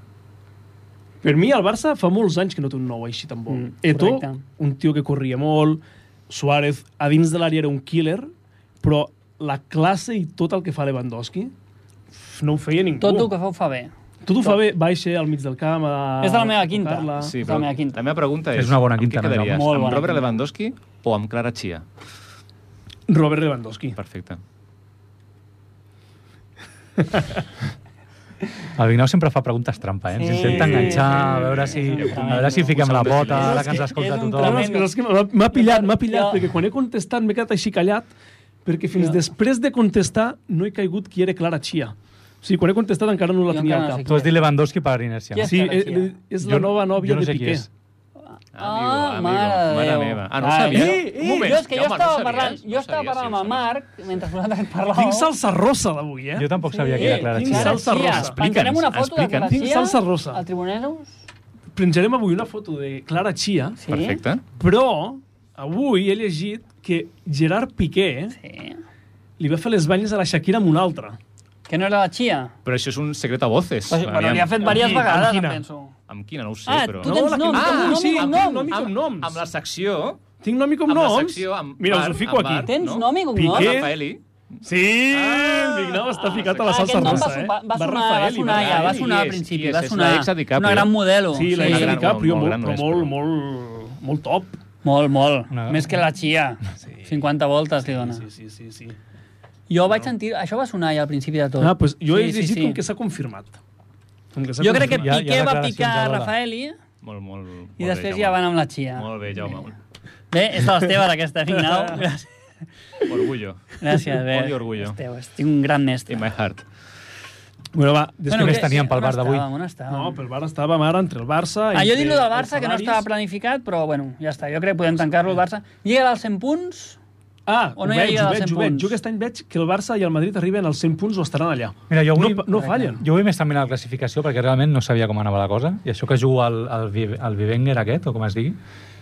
Per mi, el Barça fa molts anys que no té un nou així tan bon. Mm, Mm, Eto, correcte. un tio que corria molt, Suárez, a dins de l'àrea era un killer, però la classe i tot el que fa Lewandowski f- no ho feia ningú. Uh. Tot el que feu fa bé. tot ho fa bé, baixa al mig del camp a... És de la meva quinta. tocar-la. Sí. És la meva quinta. la meva pregunta és... És una bona amb qui quinta, no? quedaries? Ah, Molt amb bona Robert quinta. Lewandowski o amb Clara Chia? Robert Lewandowski. Perfecte. El Vignau sempre fa preguntes trampa, eh? Ens Sí. intenta enganxar, a veure si, Sí, sí, sí. a veure si fiquem la pota, ara que ens escolta És un No, no, tothom. és que, és que m'ha- m'ha pillat, m'ha pillat, Jo- perquè quan he contestat m'he quedat així callat, perquè fins Jo- després de contestar no he caigut qui era Clara Chia. O sigui, quan he contestat encara no la Jo tenia encara al no sé cap. Tu has dit Lewandowski per inèrcia. Qui és? Sí, eh, Clara és, Chia. és la nova nòvia jo no de sé qui Piqué. és. Ah, mare de mare Déu. meva. Ah, no ho Ai, sabia. I, i, Un moment, jo és que jo Jaume, estava no ho sabies? parlant, No jo ho estava sabies, parlant sí, amb ho en Marc, mentre vosaltres parlàveu. Tinc salsa rossa d'avui, eh? Jo tampoc sabia que era clara tinc Xia. sal- salsa rosa. Penjarem una foto de Explica'ns. Clara Tinc Xia salsa rosa. Al Tribuneros? Penjarem avui una foto de Clara Chia, Sí? Perfecte. però avui he llegit que Gerard Piqué Sí. li va fer les banyes a la Shakira amb una altra. Que no era la Xia? Però això és un secret a voces. Però, però Aviam. li ha fet diverses Amb qui? vegades, Amb em quina? penso. Amb quina, no ho sé, Ah, però... tu tens la que- nom, ah, tens nom, sí, i amb cognom. nom i cognoms. Amb la secció... Tinc nom i Amb la cognoms. secció, amb Mira, bar, us ho fico amb aquí. bar. Tens No. nom i cognom? Piqué? Rafaeli. Sí! Ah! Ah, Vignau està ficat a Ah, la salsa aquest nom va, rosa, sonar, eh? va, va, sonar, va Rafaeli, sonar, ja, va Rafaeli. sonar al I és- principi, i és- va és la sonar. ex de DiCaprio. Una gran modelo. Sí, la Sí. Isa Gran, DiCaprio, molt, molt, gran molt, no és, molt, molt, molt top. Molt, molt. Una- Més que la Xia. 50 voltes li dona. Sí, sí, sí. sí. Jo vaig sentir... Això va sonar ja al principi de tot. Ah, pues jo he Sí, sí, llegit sí. com que s'ha confirmat. Com que s'ha Jo crec que confirmat. Hi ha- hi ha Piqué va declaracions picar a alhora. Rafaeli Molt, molt, molt i bé, després Jaume. ja van amb la Xia. Molt bé, Jaume. Bé, és de les teves, aquesta, final. Gràcies. Orgullo. Gràcies, bé. Odio orgullo. És teu, és- tinc un gran mestre. In my heart. Bueno, va, després... més què- teníem pel on bar d'avui? estàvem, On estàvem? No, pel Barça estava ara entre el Barça... Ah, jo entre dic lo del els Barça, que no salaris. estava planificat, però bueno, ja està. Jo crec que podem tancar-lo, el Barça. Lliga dels 100 punts, Ah, O ho no hi ha veig, Lliga ho dels veig, 100 ho veig. punts. Jo aquest any veig que el Barça i el Madrid arriben als 100 punts o estaran allà. Mira, jo No, avui, no fallen. jo avui m'he estat mirant la classificació perquè realment no sabia com anava la cosa. I això que jugo al, al, Vi- al Vivenger aquest, o com es digui,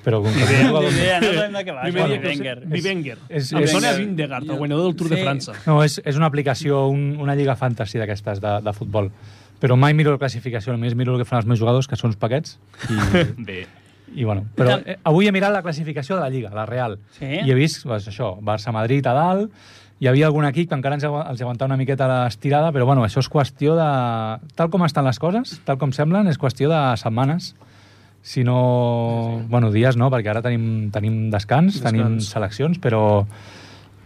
però com que no, Ni jugo idea, no sabem de què va, Primer això, dia el que Wenger. ho sé- Vivenger. És- Em és- sona a Wenger. Vindegaard, el guanyador del Tour de Sí. França. no és, és una aplicació, un, una lliga fantasy d'aquestes de, de futbol. Però mai miro la classificació, només miro el que fan els meus jugadors, que són uns paquets, i, Bé. I bueno, però eh, avui he mirat la classificació de la Lliga, la Real. Sí. I he vist pues, això, Barça-Madrid a dalt, hi havia algun equip que encara ens agu- els aguantava una miqueta l'estirada, però bueno, això és qüestió de... Tal com estan les coses, tal com semblen, és qüestió de setmanes. Si no... Bueno, dies no, perquè ara tenim, tenim descans, Descans. descans, tenim seleccions, però...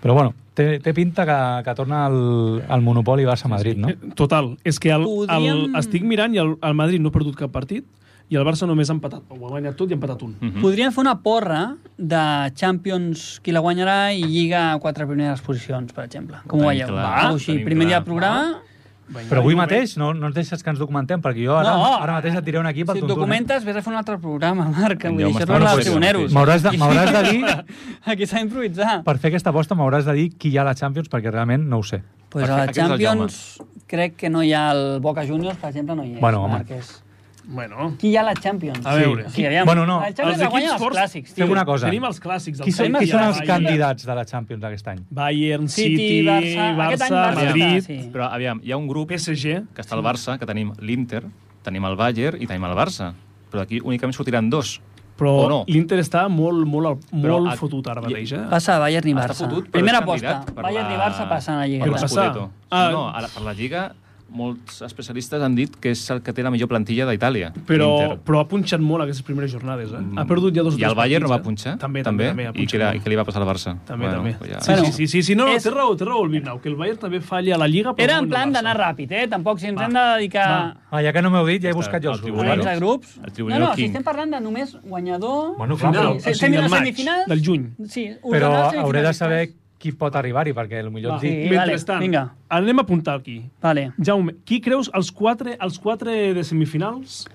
Però bueno, té, té pinta que, que torna el, el monopoli Barça-Madrid, no? Eh, Total, és que el, el, Podríem- estic mirant i el, el Madrid no ha perdut cap partit i el Barça només ha empatat, ho ha guanyat tot i ha empatat Mm. un. Mhm. Podríem fer una porra de Champions, qui la guanyarà, i Lliga a quatre primeres posicions, per exemple. Com ho Tenim veieu? clar, Va, així, tenim primer clar. dia del programa... Vinga, Però avui jo ho veig. mateix no, no ens deixes que ens documentem, perquè jo ara, No. ara mateix et diré un equip al Si et tuntun, eh? documentes, vés a fer un altre programa, Marc. Vull dir, Jaume, això és Ah, no, no l'hora pot dels ser. tribuneros. M'hauràs de, m'hauràs de dir Aquí s'ha d'improvisar. Per fer aquesta aposta m'hauràs de dir qui hi ha a la Champions perquè realment no ho sé. Pues a la Aquest és el Champions crec que no hi ha el Boca Juniors, per exemple, no hi és. Bueno, home. Marc, és- Bueno, Qui hi ha a la Champions? A veure. Sí, aviam. Bueno, no, La Champions els la guanyen equips els forts- clàssics, Fem tio. una cosa. tenim els clàssics. El Qui són, qui Celtic, són els Bayern, candidats de la Champions d'aquest any? Bayern, City, City, Barça, Barça, aquest any Barça Madrid, està, sí. Però, aviam, hi ha un grup PSG. que està al Barça, que tenim l'Inter, tenim el Bayern i tenim el Barça. Però d'aquí únicament sortiran dos. Però O no. l'Inter està molt, molt, al- Però molt a- fotut ara i- mateix, eh? Passa Bayern i Està Barça. fotut, però Primera és aposta. candidat per Bayern la- i Barça passen a Lliga. Per Què Catalana. passa? l'Scudetto. Ah. No, a la, per la Lliga molts especialistes han dit que és el que té la millor plantilla d'Itàlia. Però, l'Inter. però ha punxat molt aquestes primeres jornades, eh? Ha perdut ja dos o I el tres Bayern no va partits, eh? punxar? També, també, també, ha I, què, punxat. era, molt. I què li va passar al Barça? També, Bueno, també. Ja. Sí, Bueno, sí, sí, sí, sí, no, no, és- té raó, té raó el Vignau, que el Bayern també falla a la Lliga, però Era no en el plan Barça. d'anar ràpid, eh? Tampoc, si ens hem de dedicar... Ah, ja que no m'heu dit, ja he buscat jo el els grups. Bueno, Bueno, de grups. el No, Tribunal no, si King. estem parlant de només guanyador... Bueno, clar, Final, però, o Sí, sigui, estem del a maig, semifinals. del juny. Sí, però ordenar els hauré de semifinalistes. saber qui pot arribar-hi, perquè potser Va, et Doncs sí, dic... Sí, mentrestant, vale, vinga. anem a apuntar aquí. Vale. Jaume, qui creus els quatre, els quatre de semifinals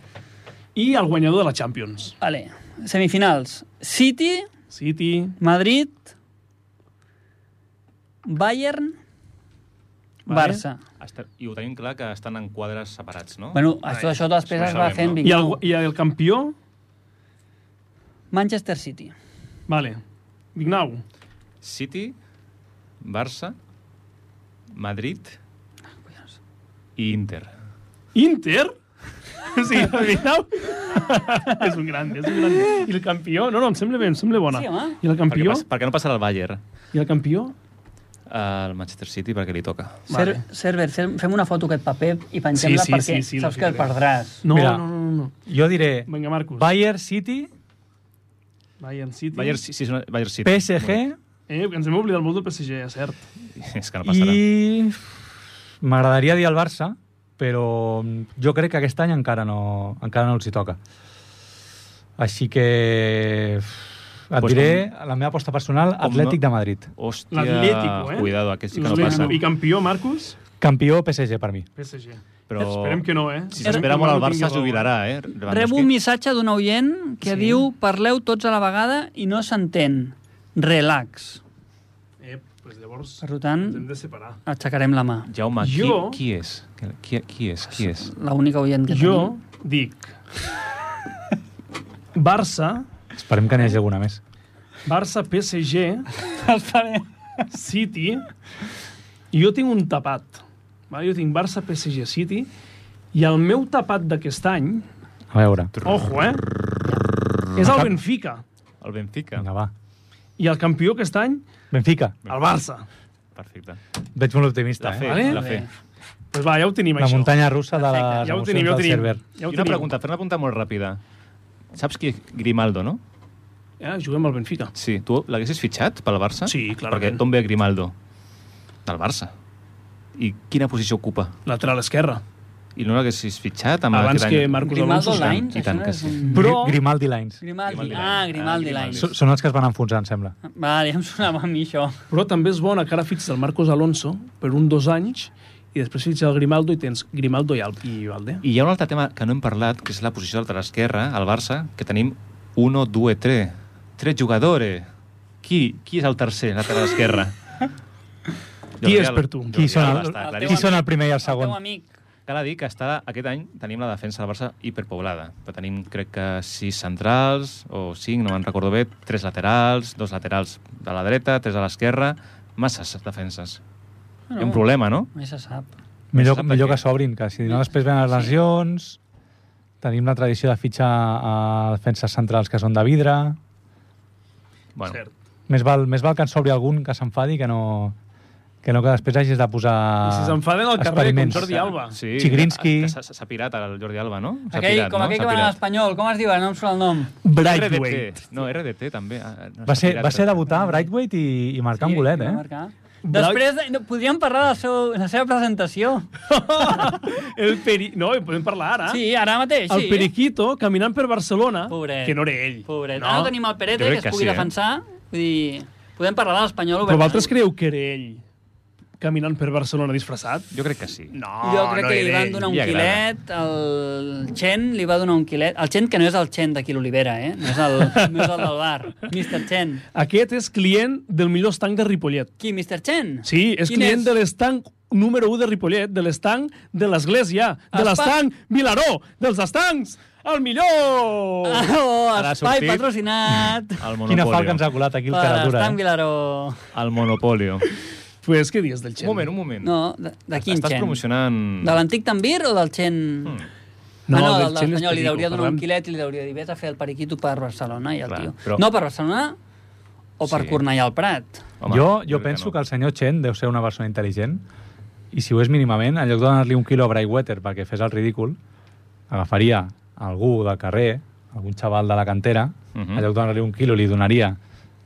i el guanyador de la Champions? Vale. Semifinals. City, City, Madrid, Bayern, Vale. Barça. Està- I ho tenim clar que estan en quadres separats, no? Bueno, això, això després es Això ho va sabem, fent... no? i el, No? gu- i el campió? Manchester City. Vale. Vignau, City, Barça, Madrid Ah, i Inter. Inter? sí, el Vignau... és un grande, és un grande. I el campió? No, no, em sembla bé, em sembla bona. Sí, home. I el Per què, campió? pas, per què no passarà el Bayern? I el campió? El Manchester City perquè li toca. Vale. Ser, Server, fem fem una foto aquest paper i Sí, pengem-la sí, perquè sí, sí, saps la que el ficaré. perdràs. No, Mira. no, no, no, no. Jo diré Vinga, Marcus. Bayern City, Bayern City. Bayern, sí, sí, és una- Bayern City. PSG Eh, que ens hem oblidat molt del PSG, és cert. És que no passarà. I... i... M'agradaria dir el Barça, però jo crec que aquest any encara no, encara no els hi toca. Així que... Et Pues diré la meva aposta personal, com no- Atlètic de Madrid. Hòstia, L'Atlético, eh? cuidado, aquest sí que no L'Atlético. passa. I campió, Marcus? Campió PSG per mi. PSG. Però Esperem que no, eh? Si s'espera molt al Esperem que Barça, no es tingui jubilarà, eh? Lewandowski. Rebo un missatge d'un oient que Sí. diu parleu tots a la vegada i no s'entén. Relax. raó. Eh, pues llavors Per tant, ens hem de separar. aixecarem la mà. Jaume, qui, Jo- qui és? Qui, qui és? Qui és? L'única oient que Jo dic... Barça, Esperem que n'hi hagi alguna més. Barça, PSG, tenim. City, i jo tinc un tapat. Va? Jo tinc Barça, PSG, City, i el meu tapat d'aquest any, A veure. ojo, eh? És el Benfica. El Benfica. Vinga, va. I el campió aquest any, Benfica. el Barça. Perfecte. Veig molt optimista, La fe, eh? Vale. la fe. Pues va, ja ho tenim, La això. muntanya russa de les ja ho emocions tenim, ja ho del tenim. server. Ja ho I una tenim. pregunta, fer una pregunta molt ràpida. Saps qui és Grimaldo, no? Eh, juguem al Benfica. Sí. Tu l'haguessis fitxat pel Barça? Sí, clarament. Perquè d'on ve Grimaldo? Del Barça. I quina posició ocupa? Lateral esquerra. I no l'haguessis fitxat amb Abans aquest que any? Marcos Grimaldo Alonso... Lines, Lines? I tant això que és sí. un- Però- Gri- Grimaldi Lines. Grimaldi. Grimaldi Ah, Lines. Grimaldi Ah, Lines. S- Són els que es van enfonsar, em sembla. Vale, ja em sonava a mi això. Però també és bona que ara fitxis el Marcos Alonso per un dos anys i després fitxis el Grimaldo i tens Grimaldo i, Al i Valde. I hi ha un altre tema que no hem parlat, que és la posició d'altra esquerra, al Barça, que tenim 1, 2, 3. 3 jugadores. Qui, qui és el tercer, lateral esquerra? Qui és per tu? Qui són el, Està, El claríssim. qui teu són el primer i el El segon? teu amic. Cal dir que està, aquest any tenim la defensa del Barça hiperpoblada. Però tenim, crec que, sis centrals, o cinc, no me'n recordo bé, tres laterals, dos laterals de la dreta, tres a l'esquerra, masses defenses. Hi ha un problema, no? Mai se sap. Millor, Sap de millor què? que s'obrin, que si no després venen les lesions... Tenim la tradició de fitxar a defenses centrals que són de vidre... Bueno, Cert. Més val, més val que en s'obri algun que s'enfadi que no que no que després hagis de posar I si s'enfaden al carrer com Ah, experiments. Jordi Alba. Sí, Ah, Chigrinsky. que s'ha- S'ha pirat ara el Jordi Alba, no? S'ha Aquell, pirat, com no? aquell S'ha que va anar a pirat. l'Espanyol, com es diu? ara? No em sona el nom. Brightweight. RDT. No, RDT també. Ah, No, Va s'ha ser, pirat. va ser debutar Brightweight i, i marcar sí, un golet, va eh? marcar. Després, de- no, podríem parlar de la, seu, la seva presentació. El peri... No, en podem parlar ara. Sí, ara mateix, Ah? El sí. Periquito, caminant per Barcelona, Pobret. que no era ell. Pobret. No? Ara Ah, tenim el Perete, Jo que crec es que pugui sí, eh? defensar. Vull dir, podem parlar de l'Espanyol. Però obertament. vosaltres creieu que era ell caminant per Barcelona disfressat? Jo crec que sí. No, Jo crec no que li era van ell. donar un li agrada. quilet, el Chen li va donar un quilet. El Chen, que no és el Chen d'aquí l'Olivera, eh? No és, el, no és el del bar. Mr. Chen. Aquest és client del millor estanc de Ripollet. Qui, Mr. Chen? Sí, és Quin client és? de l'estanc número 1 de Ripollet, de l'estanc de l'Església, de Espa- l'estanc Vilaró, dels estancs, el millor! Ah, Oh, Ara ha espai sortit. patrocinat El Quina falca ens ha monopolio. colat aquí per el Caratura, Estan eh? Vilaró. El monopolio. Pues què dius del un Xen? moment, un moment. No, de, de quin Estàs Chen? promocionant... De l'antic Tambir o del Chen... Mm. No, ah, no, del del, de Chen és l'Espanyol. Li perico, deuria donar parlem. un quilet i li deuria dir vés a fer el periquito per Barcelona i el Clar, tio. però- No per Barcelona o per Sí. Cornellà al Prat. Home, jo, crec jo penso que, el senyor Chen deu ser una persona intel·ligent i si ho és mínimament, en lloc de donar-li un quilo a Brightwater perquè fes el ridícul, agafaria algú del carrer, algun xaval de la cantera, Mhm. en lloc de donar-li un quilo li donaria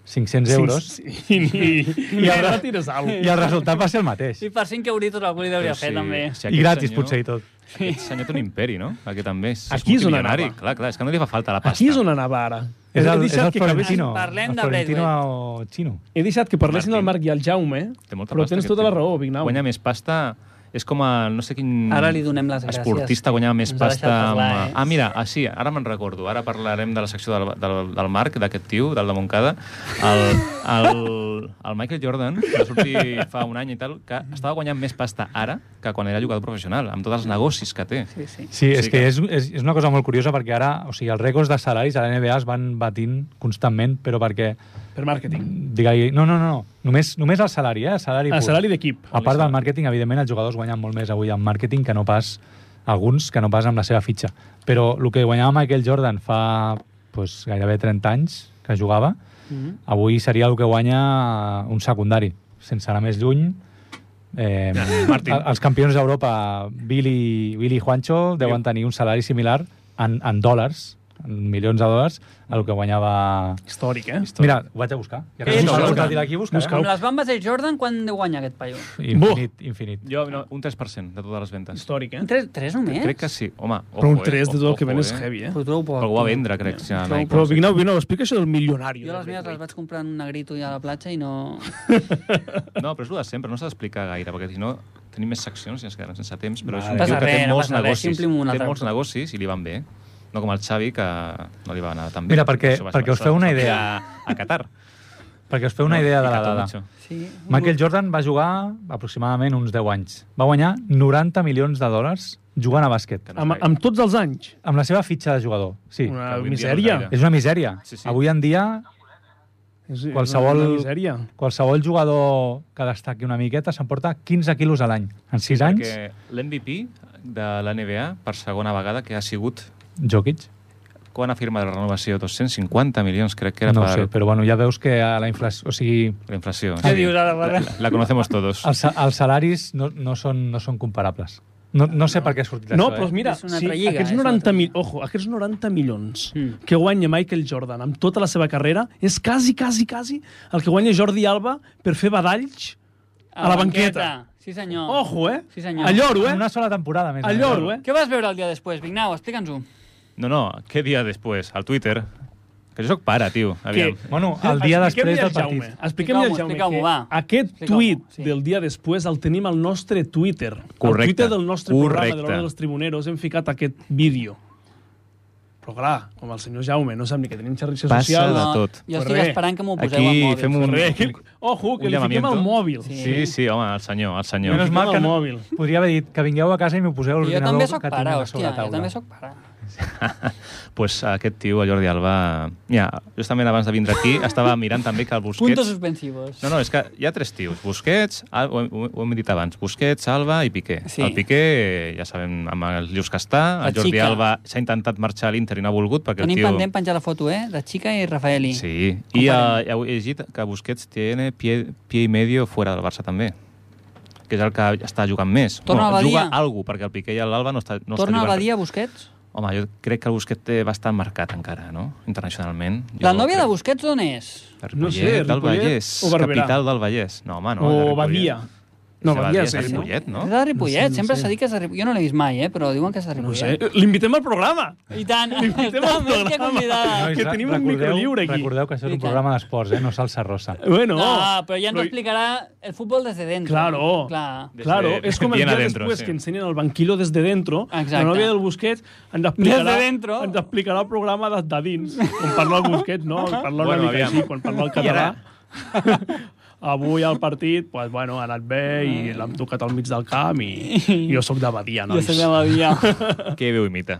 500 euros Sí, sí, I, i, i ara- ara tires alguna i el resultat va ser el mateix. I per 5 euritos algú li deuria Però fer, també. I aquest gratis, senyor- potser, i tot. Aquest senyor té un imperi, no? Aquest també. És, Aquí és on multimilionari. anava. Clar, clar, és que no li fa falta la pasta. Aquí és on anava ara. És he el, és deixat el que acabés- Florentino. Parlem el de Florentino o Chino. He deixat que parlessin Martín. el Marc i el Jaume, Té molta però pasta, tens aquest tota la tio. raó, Vignau. Guanya més pasta... És com a, no sé quin... Ara li donem les gràcies. Esportista guanya més Ens ha pasta... deixat parlar, amb- eh? Ah, mira, ah, sí, ara me'n recordo. Ara parlarem de la secció del, del, del Marc, d'aquest tio, del de Montcada. El, el, el Michael Jordan, que va sortir fa un any i tal, que estava guanyant més pasta ara que quan era jugador professional, amb tots els negocis que té. Sí, sí. Sí, és Sí que que- és, és, és una cosa molt curiosa perquè ara, o sigui, els rècords de salaris a la NBA es van batint constantment, però perquè, Per màrqueting. digui, no, no, no, no, només, només el salari, eh? El salari, A pur. salari d'equip. A part del màrqueting, evidentment, els jugadors guanyen molt més avui amb màrqueting que no pas alguns que no pas amb la seva fitxa. Però el que guanyava Michael Jordan fa pues, gairebé 30 anys que jugava, avui seria el que guanya un secundari, sense anar més lluny. Eh, Martín. els campions d'Europa, Billy, Billy i Juancho, deuen tenir un salari similar en, en dòlars, en milions de dòlars, al que guanyava... Històric, eh? Mira, ho vaig a buscar. Ja que Eh, tinc el busca. portàtil aquí, busca. eh? Busca. Amb les bambes de Jordan, quan deu guanyar aquest paio? Infinit, infinit. Jo, no, un 3% de totes les ventes. Històric, eh? Tres, tres només? Crec que sí. Home, ojo, Però un eh? 3 de tot el que Ojo, ven és eh? heavy, eh? Ho trobo poc. Però ho va vendre, crec, si a Però- Nike. Però, Vignau, Vignau, explica això del milionari. Jo les meves les vaig comprar en un negrito i a la platja i no... No, però és el de sempre, no s'ha d'explicar gaire, perquè si no Tenim més seccions i ens quedaran sense temps, però Vale. és un tio Passa que té res, no molts passa res, negocis, omplim una té altra molts cosa. negocis i li van bé. No com el Xavi, que no li va anar tan bé. Mira, perquè- Això va- perquè us això feu va- una això va idea. fer A, a Qatar. Perquè us feu una No, idea de la Qatar, dada. macho. Sí. Michael Jordan va jugar aproximadament uns 10 anys. Va guanyar 90 milions de dòlars jugant a bàsquet. Que no és Amb, gaire. amb tots els anys. Amb la seva fitxa de jugador, sí. Una que avui en dia misèria. no és És una misèria. Sí, sí. Avui en dia, És, és Qualsevol- Una misèria. qualsevol jugador que destaqui una miqueta s'emporta 15 quilos a l'any. En 6 anys, Perquè l'MVP de la NBA, per segona vegada, que ha sigut... Jokic. Quan ha firmat la renovació? 250 milions, crec que era No ho per sé, però bueno, ja veus que a la inflació... O sigui, la inflació. Què dius ara, Ferran? La, la conocemos todos. els, els salaris no, no, són, no són comparables. No, no sé per què ha sortit No, això, però eh? mira, És una si altra lliga, aquests és una 90 altra mil, lliga. ojo, aquests 90 milions Mm. que guanya Michael Jordan amb tota la seva carrera és quasi, quasi, quasi el que guanya Jordi Alba per fer badalls a la banqueta. Sí, senyor. Ojo, eh? Sí, senyor. A lloro, En eh? una sola temporada, a més. a A més. lloro, eh? Què vas veure el dia després, Vignau? Explica'ns-ho. No, no, què dia després? Al Twitter. Que jo soc pare, tio. Aviam. Que- Bueno, el dia Expliquem-li després del al Jaume, partit. Expliquem-li al Explica'm-ho, Jaume explica'm-ho, que va. aquest Explica'm-ho, tuit sí. del dia després el tenim al nostre Twitter. Correcte, Al Twitter del nostre correcte. programa de l'Hora dels Tribuneros hem ficat aquest vídeo. Però clar, com el senyor Jaume no sap ni que tenim xarxes Passa socials... de No, tot. Jo estic Ferrer, esperant que m'ho poseu aquí al mòbil. fem un- Res, que- Ojo, que Un li fiquem llamamiento. al mòbil. Sí. Sí, sí, home, el senyor, el senyor. Menos Fiquem mal que al no- mòbil. Podria haver dit que vingueu a casa i m'ho poseu a Jo l'ordinador també que sóc tinc pare, a sobre hòstia, la jo taula. també sóc pare. pues aquest tio, el Jordi Alba... Mira, justament abans de vindre aquí estava mirant també que el Puntos Busquets... suspensivos. No, no, és que hi ha tres tios. Busquets, Al- ho, hem- ho hem dit abans, Busquets, Alba i Piqué. Sí. El Piqué, eh, ja sabem, amb els llius que està, La el Jordi xica. Alba s'ha intentat marxar a l'Inter i no ha volgut perquè Tenim el tio... pendent penjar la foto, eh? De Chica i Rafaeli. Sí, Com i farem? eh, heu llegit que Busquets tiene pie, pie y medio fuera del Barça també que és el que està jugant més. Torna a Badia. juga algú, perquè el Piqué i l'Alba no, està, no Torna a està jugant. Badia, Busquets? Home, jo crec que el Busquets té bastant marcat encara, no? Internacionalment. Jo La nòvia de crec- Busquets d'on és? de Ripollet, No sé, del Ripollet Vallès, o Barberà. capital del Vallès. No, home, no. de O Ripollet. Badia. No, de Badia, és de sí. no? Ripollet, no? És de Ripollet, No sé, no sempre sé. s'ha dit que és de Ripollet. Jo no l'he vist mai, eh? però diuen que és de No sé. Ripollet. L'invitem al programa. I tant, Invitem està al més que programa. convidada. Nois, que tenim un micro lliure aquí. Recordeu que això és un I tant. programa d'esports, eh? no salsa rosa. Bueno, No, però ja ens ho explicarà el futbol des de dins. Claro. Clar. Des Claro, de- és com el bien dia adentro, després sí. que ensenyen el banquillo des de dentro, Exacte. la nòvia del Busquets ens explicarà, Des de dentro. ens explicarà el programa des de dins, on parla el Busquets, no? On parla una Bueno, mica aviam. així, quan parla el I català. ara? Avui al partit, pues, bueno, ha anat bé i l'hem tocat al mig del camp i, i jo sóc de Badia, Jo nois. sé que m'havia... Què veu imita?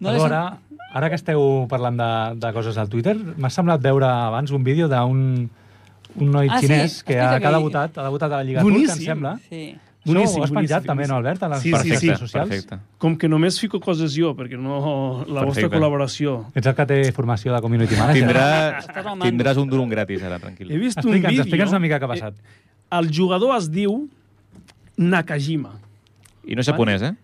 No l'he Alhora, ara que esteu parlant de, de coses al Twitter, m'ha semblat veure abans un vídeo d'un un noi Ah, sí, xinès que, ha, que ha explica que- debutat, ha debutat a la Lliga Turca, Boníssim. em sembla. sent- Sí. Això ho has penjat també, no, Albert, a les Sí, sí, perfecte, sí. xarxes socials? perfecte. Com que només fico coses jo, perquè no la vostra Perfecte. col·laboració. Ets el que té formació de community manager. Tindràs, Estàs al mando. tindràs un durum gratis ara, He tranquil. vist un Explica'ns, vídeo... Eh, explica'ns una mica què ha passat. El jugador es diu Nakajima. I no és japonès, eh?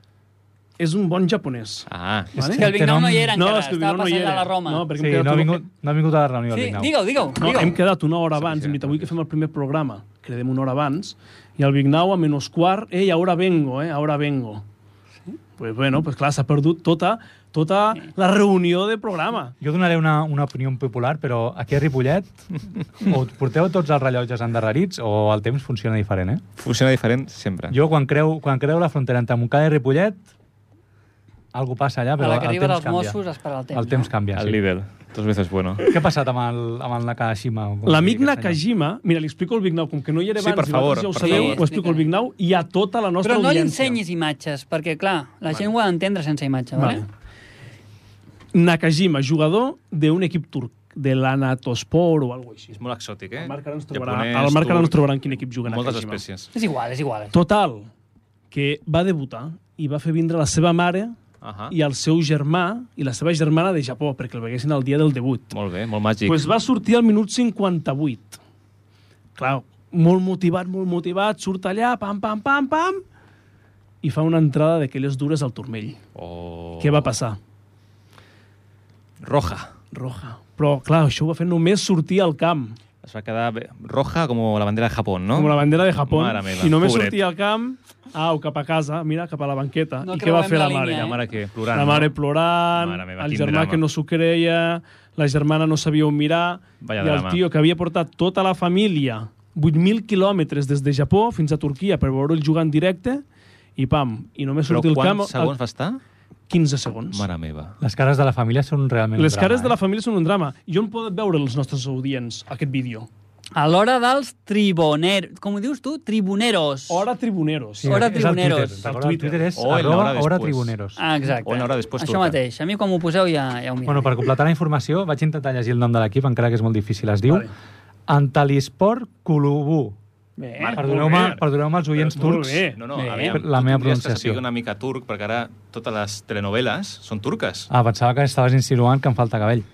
És un bon japonès. Ah, Vale? Que el Vignau no hi era no, encara, és que el Vignau estava no hi passant era. a la Roma. No, perquè Sí, hem quedat, no ha, una- vingut, no ha vingut a la reunió, sí, el Vignau. digue-ho, digue-ho. no, digue-ho. hem quedat una hora abans, Sí, hem dit, avui sí. que fem el primer programa, quedem una hora abans, i el Vignau a menos quart, ei, ahora vengo, eh, ahora vengo. Pues bueno, pues clar, s'ha perdut tota, tota la reunió de programa. Jo donaré una, una opinió popular, però aquí a Ripollet o porteu tots els rellotges endarrerits o el temps funciona diferent, eh? funciona diferent sempre. Jo, quan creu, quan creu la frontera entre Montcada i Ripollet, algo passa allà, A però la que el arriben temps els canvia. Mossos es para el temps. el temps canvia, Al sí. Lidl, dos veces bueno. Què ha passat amb el, amb el Nakashima? o com L'amic digui aquest senyor? Nakajima, mira, li explico al Vignau, com que no hi era Sí, abans, per i favor, vosaltres ja ho per sabeu, favor. ho explico al Vignau i a tota la nostra Però no li audiència. ensenyis imatges, perquè, clar, la gent ho ha d'entendre sense imatge, Vale. vale? Nakajima, jugador d'un equip turc, de l'Anatospor o alguna així. És molt exòtic, eh? El Marc ara ens trobarà, Japonès, al Marc ara ens turc, trobarà en quin equip juga Moltes Nakajima. espècies. És igual, és igual. Total, que va debutar i va fer vindre la seva mare Ahà. i el seu germà i la seva germana de Japó perquè el veguessin el dia del debut. Molt bé, molt màgic. Pues va sortir al minut 58. Clar, molt motivat, molt motivat, surt allà, pam, pam, pam, pam, i fa una entrada d'aquelles dures al turmell. Oh. Què va passar? Roja. Roja. Però, clar, això ho va fer només sortir al camp. Es va quedar bé- roja com la bandera de Japó, no? com la bandera de Japó, Oh. Mare meva, i només pobret. sortia al camp, au, cap a casa, mira, cap a la banqueta. No I què va creuem fer la la, mare? línia, La eh? mare que plorant. La mare no? plorant, Mare meva, el quin germà drama. que no s'ho creia, la germana no sabia on mirar, Vaya i el drama. tio que havia portat tota la família 8.000 quilòmetres des de Japó fins a Turquia per veure'l jugar en directe i pam, i només Però sortir al camp quants segons va estar? a 15 segons. Mare meva. Les cares de la família són realment Les un drama, cares de la eh? família són un drama. I on poden veure els nostres audients aquest vídeo? A l'hora dels triboneros... Com ho dius tu? Tribuneros. Hora Tribuneros. Hora és al Tribuneros. Twitter, recorda, el Twitter és O en arroba Hora hora Después. tribuneros. Ah, exacte. Una hora després Això truquen. mateix. A mi quan m'ho poseu ja, ja ho miro. Bueno, per completar la informació, vaig intentar llegir el nom de l'equip, encara que és molt difícil. Es diu Vale. Antalisport Kulubu. Bé, Perdoneu-me Eh, molt bé. perdoneu els oients Però molt turcs. bé. No, no, Bé. aviam, La tu meva tindries pronunciació. Que sàpiga una mica turc, perquè ara totes les telenovel·les són turques. Ah, pensava que estaves insinuant que em falta cabell.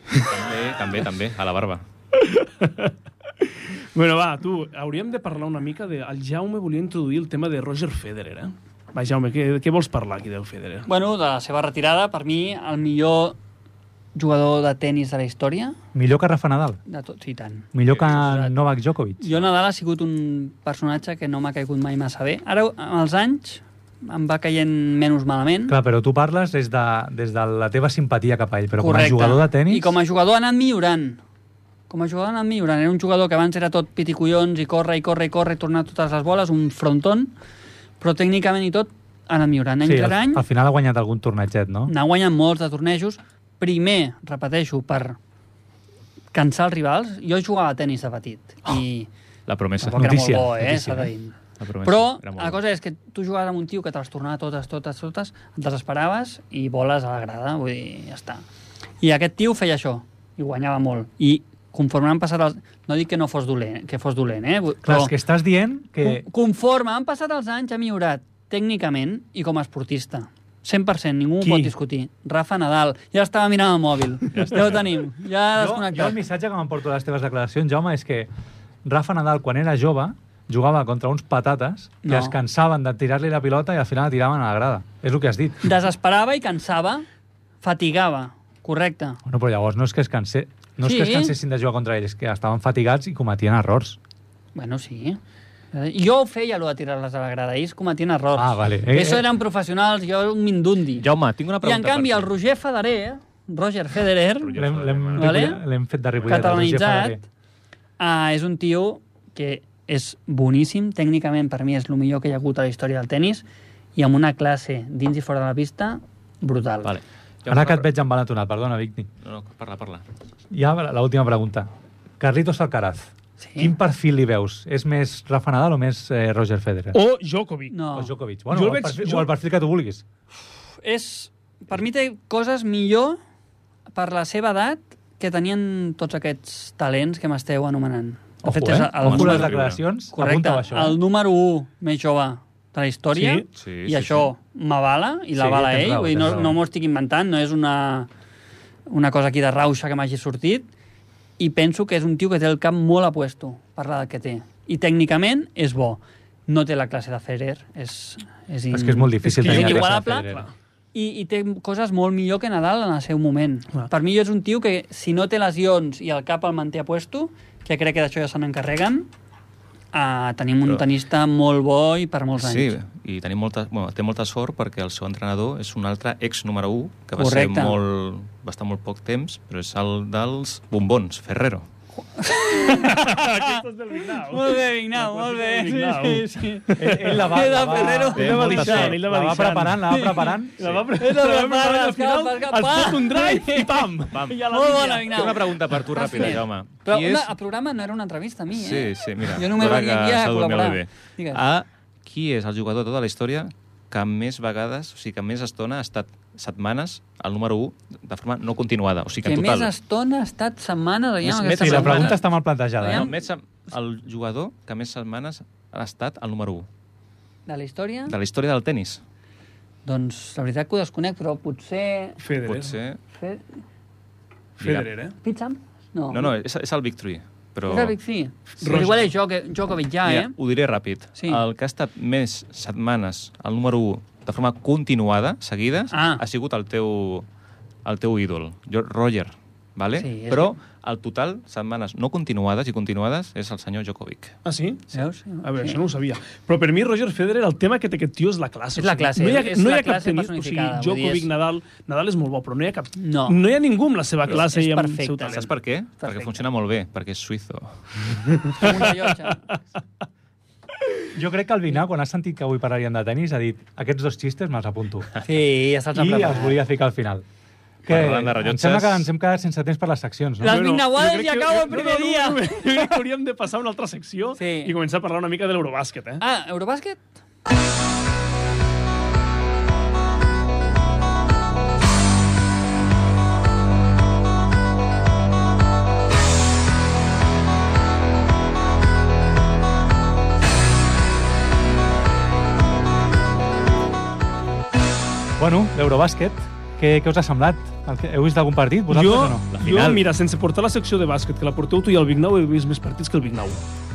També, també, també, a la barba. Bueno, va, tu, hauríem de parlar una mica de... El Jaume volia introduir el tema de Roger Federer, eh? Va, Jaume, què, què vols parlar aquí del Federer? Bueno, de la seva retirada, per mi, el millor jugador de tennis de la història. Millor que Rafa Nadal. De tots i tant. Millor que Posat. Novak Djokovic. Jo, Nadal, ha sigut un personatge que no m'ha caigut mai massa bé. Ara, amb els anys, em va caient menys malament. Clar, però tu parles des de, des de la teva simpatia cap a ell, però Correcte. com a jugador de tennis... I com a jugador ha anat millorant. Com a jugador ha anat millorant. Era un jugador que abans era tot piticollons i corre i corre i corre i tornar totes les boles, un fronton, però tècnicament i tot ha anat millorant. Any sí, al, rere any al final ha guanyat algun torneget, no? n'ha guanyat molts de tornejos. Primer, repeteixo, per cansar els rivals. Jo jugava a tennis de petit Oh. i La promesa. tampoc era molt Notícia, bo, eh? notícia, S'ha de eh? dir. La promesa. Però Era molt la bo. cosa és que tu jugaves amb un tio que te les tornava totes, totes, totes, et desesperaves i boles a la grada, vull dir, ja està. I aquest tio feia això, i guanyava molt. I conforme han passat els... No dic que no fos dolent, que fos dolent, eh? Vull- Clar, però- és que estàs dient que... Con- Conforme han passat els anys, ha millorat tècnicament i com a esportista. 100%, ningú Qui? ho pot discutir. Rafa Nadal. Ja estava mirant el mòbil. Ja, ja ho tenim. Jo, Ja ha jo el desconnectat. missatge que m'emporto de les teves declaracions, Jaume, és que Rafa Nadal, quan era jove, jugava contra uns patates que No. es cansaven de tirar-li la pilota i al final la tiraven a la grada. És el que has dit. Desesperava i cansava, fatigava. Correcte. Bueno, però llavors no és que es canse... No és Sí. que es cansessin de jugar contra ells, és que estaven fatigats i cometien errors. Bueno, sí. Eh, Jo ho feia, allò de tirar-les a la grada. Ells cometien errors. Ah, vale. Eh, Eso eh. eren professionals, jo era un mindundi. Jaume, tinc una I pregunta en canvi, per el tu. Roger Federer, Roger Federer, Roger L'hem l'hem Vale. Ripollet- l'hem fet de Ripollet. el Roger Federer. eh? catalanitzat, ah, és un tio que és boníssim, tècnicament per mi és el millor que hi ha hagut a la història del tennis i amb una classe dins i fora de la pista brutal. Vale. Ara que et veig embalatonat, perdona, Vicni. No, no, parla, parla. Ja l'última pregunta. Carlitos Alcaraz, Sí. quin perfil li veus? És més Rafa Nadal o més eh, Roger Federer? Oh. O Djokovic. No, o Djokovic? Bueno, Jo o el el, veig- perfil, jo- o el perfil que tu vulguis. és, per mi té coses millor per la seva edat que tenien tots aquests talents que m'esteu anomenant. De fet, Ojo, eh? és el, Ojo les número- número, declaracions. correcte, Apunta això. eh? el número 1 més jove de la història Sí, sí, i sí, això m'avala i Sí, l'avala tens ell, raó, vull dir, no, tens raó. no m'ho estic inventant, no és una, una cosa aquí de rauxa que m'hagi sortit i penso que és un tio que té el cap molt a puesto per l'edat que té i tècnicament és bo no té la classe de Ferrer és, és, in... És que és molt difícil és, que tenir és la classe de inigualable Federer. i, i té coses molt millor que Nadal en el seu moment Clar. per mi és un tio que si no té lesions i el cap el manté a puesto que crec que d'això ja se n'encarreguen uh, tenim un Però- tenista molt bo i per molts Sí, anys i tenim molta, bueno, té molta sort perquè el seu entrenador és un altre ex número 1 que va Correcte. ser molt, va estar molt poc temps, però és el dels bombons, Ferrero. Aquestes del Ah, Vignau. Molt bé, Vignau, molt bé. Sí, sí, sí. Ell, ell la va, Era la va, Ferrero. Té Ell la va molta deixant, sort. ell la la va va deixant. preparant, la va preparant. La va Ell la preparar, la va prepara, preparar al escapa, final, escapa. es fot un drive i pam! pam. I a la Molt línia. bona, Vignau. Tinc una pregunta per tu Estàs ràpida, fent. Jaume. Ah, Però Qui una, és- el programa no era una entrevista a mi, eh? Sí, sí, mira. Jo només ara venia que aquí a s'ha dormit col·laborar. molt bé. Digues. A, qui és el jugador de tota la història que més vegades, o sigui, que més estona ha estat setmanes al número 1 de forma no continuada. O sigui, Que que en més total... estona ha estat setmanes veient Més- aquesta Sí, la setmana. pregunta està mal plantejada. No, Aviam. Eh? més sem- el jugador que més setmanes ha estat el número 1 de la història. de la història del tennis. Doncs la veritat que ho desconec, però potser... Federer. Pot ser... Fer... Federer, eh? Pitcham? No. No, no, és, és el Big Three. Però... És el Big Three. Sí. Però igual és jo, que, Djokovic ja, Mira, eh? ho diré ràpid. Sí. El que ha estat més setmanes al número 1 de forma continuada, seguides, Ah. ha sigut el teu, el teu ídol, Jo- Roger. Vale? Sí, és Però el total, setmanes no continuades i continuades, és el senyor Djokovic. Ah, sí? Veus? A veure, sí. això no ho sabia. Però per mi, Roger Federer, el tema que té aquest tio és la classe. És la classe, no hi ha, és no hi la ha cap classe tenista, o sigui, personificada, vull dir, Djokovic, és- Nadal... Nadal és molt bo, però no hi ha cap... No. No hi ha ningú amb la seva És- classe és i amb el perfecte. seu Saps talent. per què? Perfecte. Perquè funciona molt bé, perquè és suïzo. Com un rellotge. eh? Jo crec que el Vinar, quan ha sentit que avui parlaríem de tennis, ha dit aquests dos xistes me'ls apunto. Sí, ja se'ls ha I els preparat. volia ficar al final. Que Parlant de em rellotges- sembla que ens hem quedat sense temps per les seccions, no? Les Bueno, Vignaguades jo crec ja que- acabo el no, no, primer no, dia. no, Jo crec que hauríem de passar a una altra secció Sí. i començar a parlar una mica de l'Eurobàsquet, eh? Ah, Eurobàsquet? Bueno, l'Eurobàsquet, què, què us ha semblat? El que- Heu vist algun partit, vosaltres jo, o no? jo, mira, sense portar la secció de bàsquet, que la porteu tu i el Vignau, he vist més partits que el Vignau.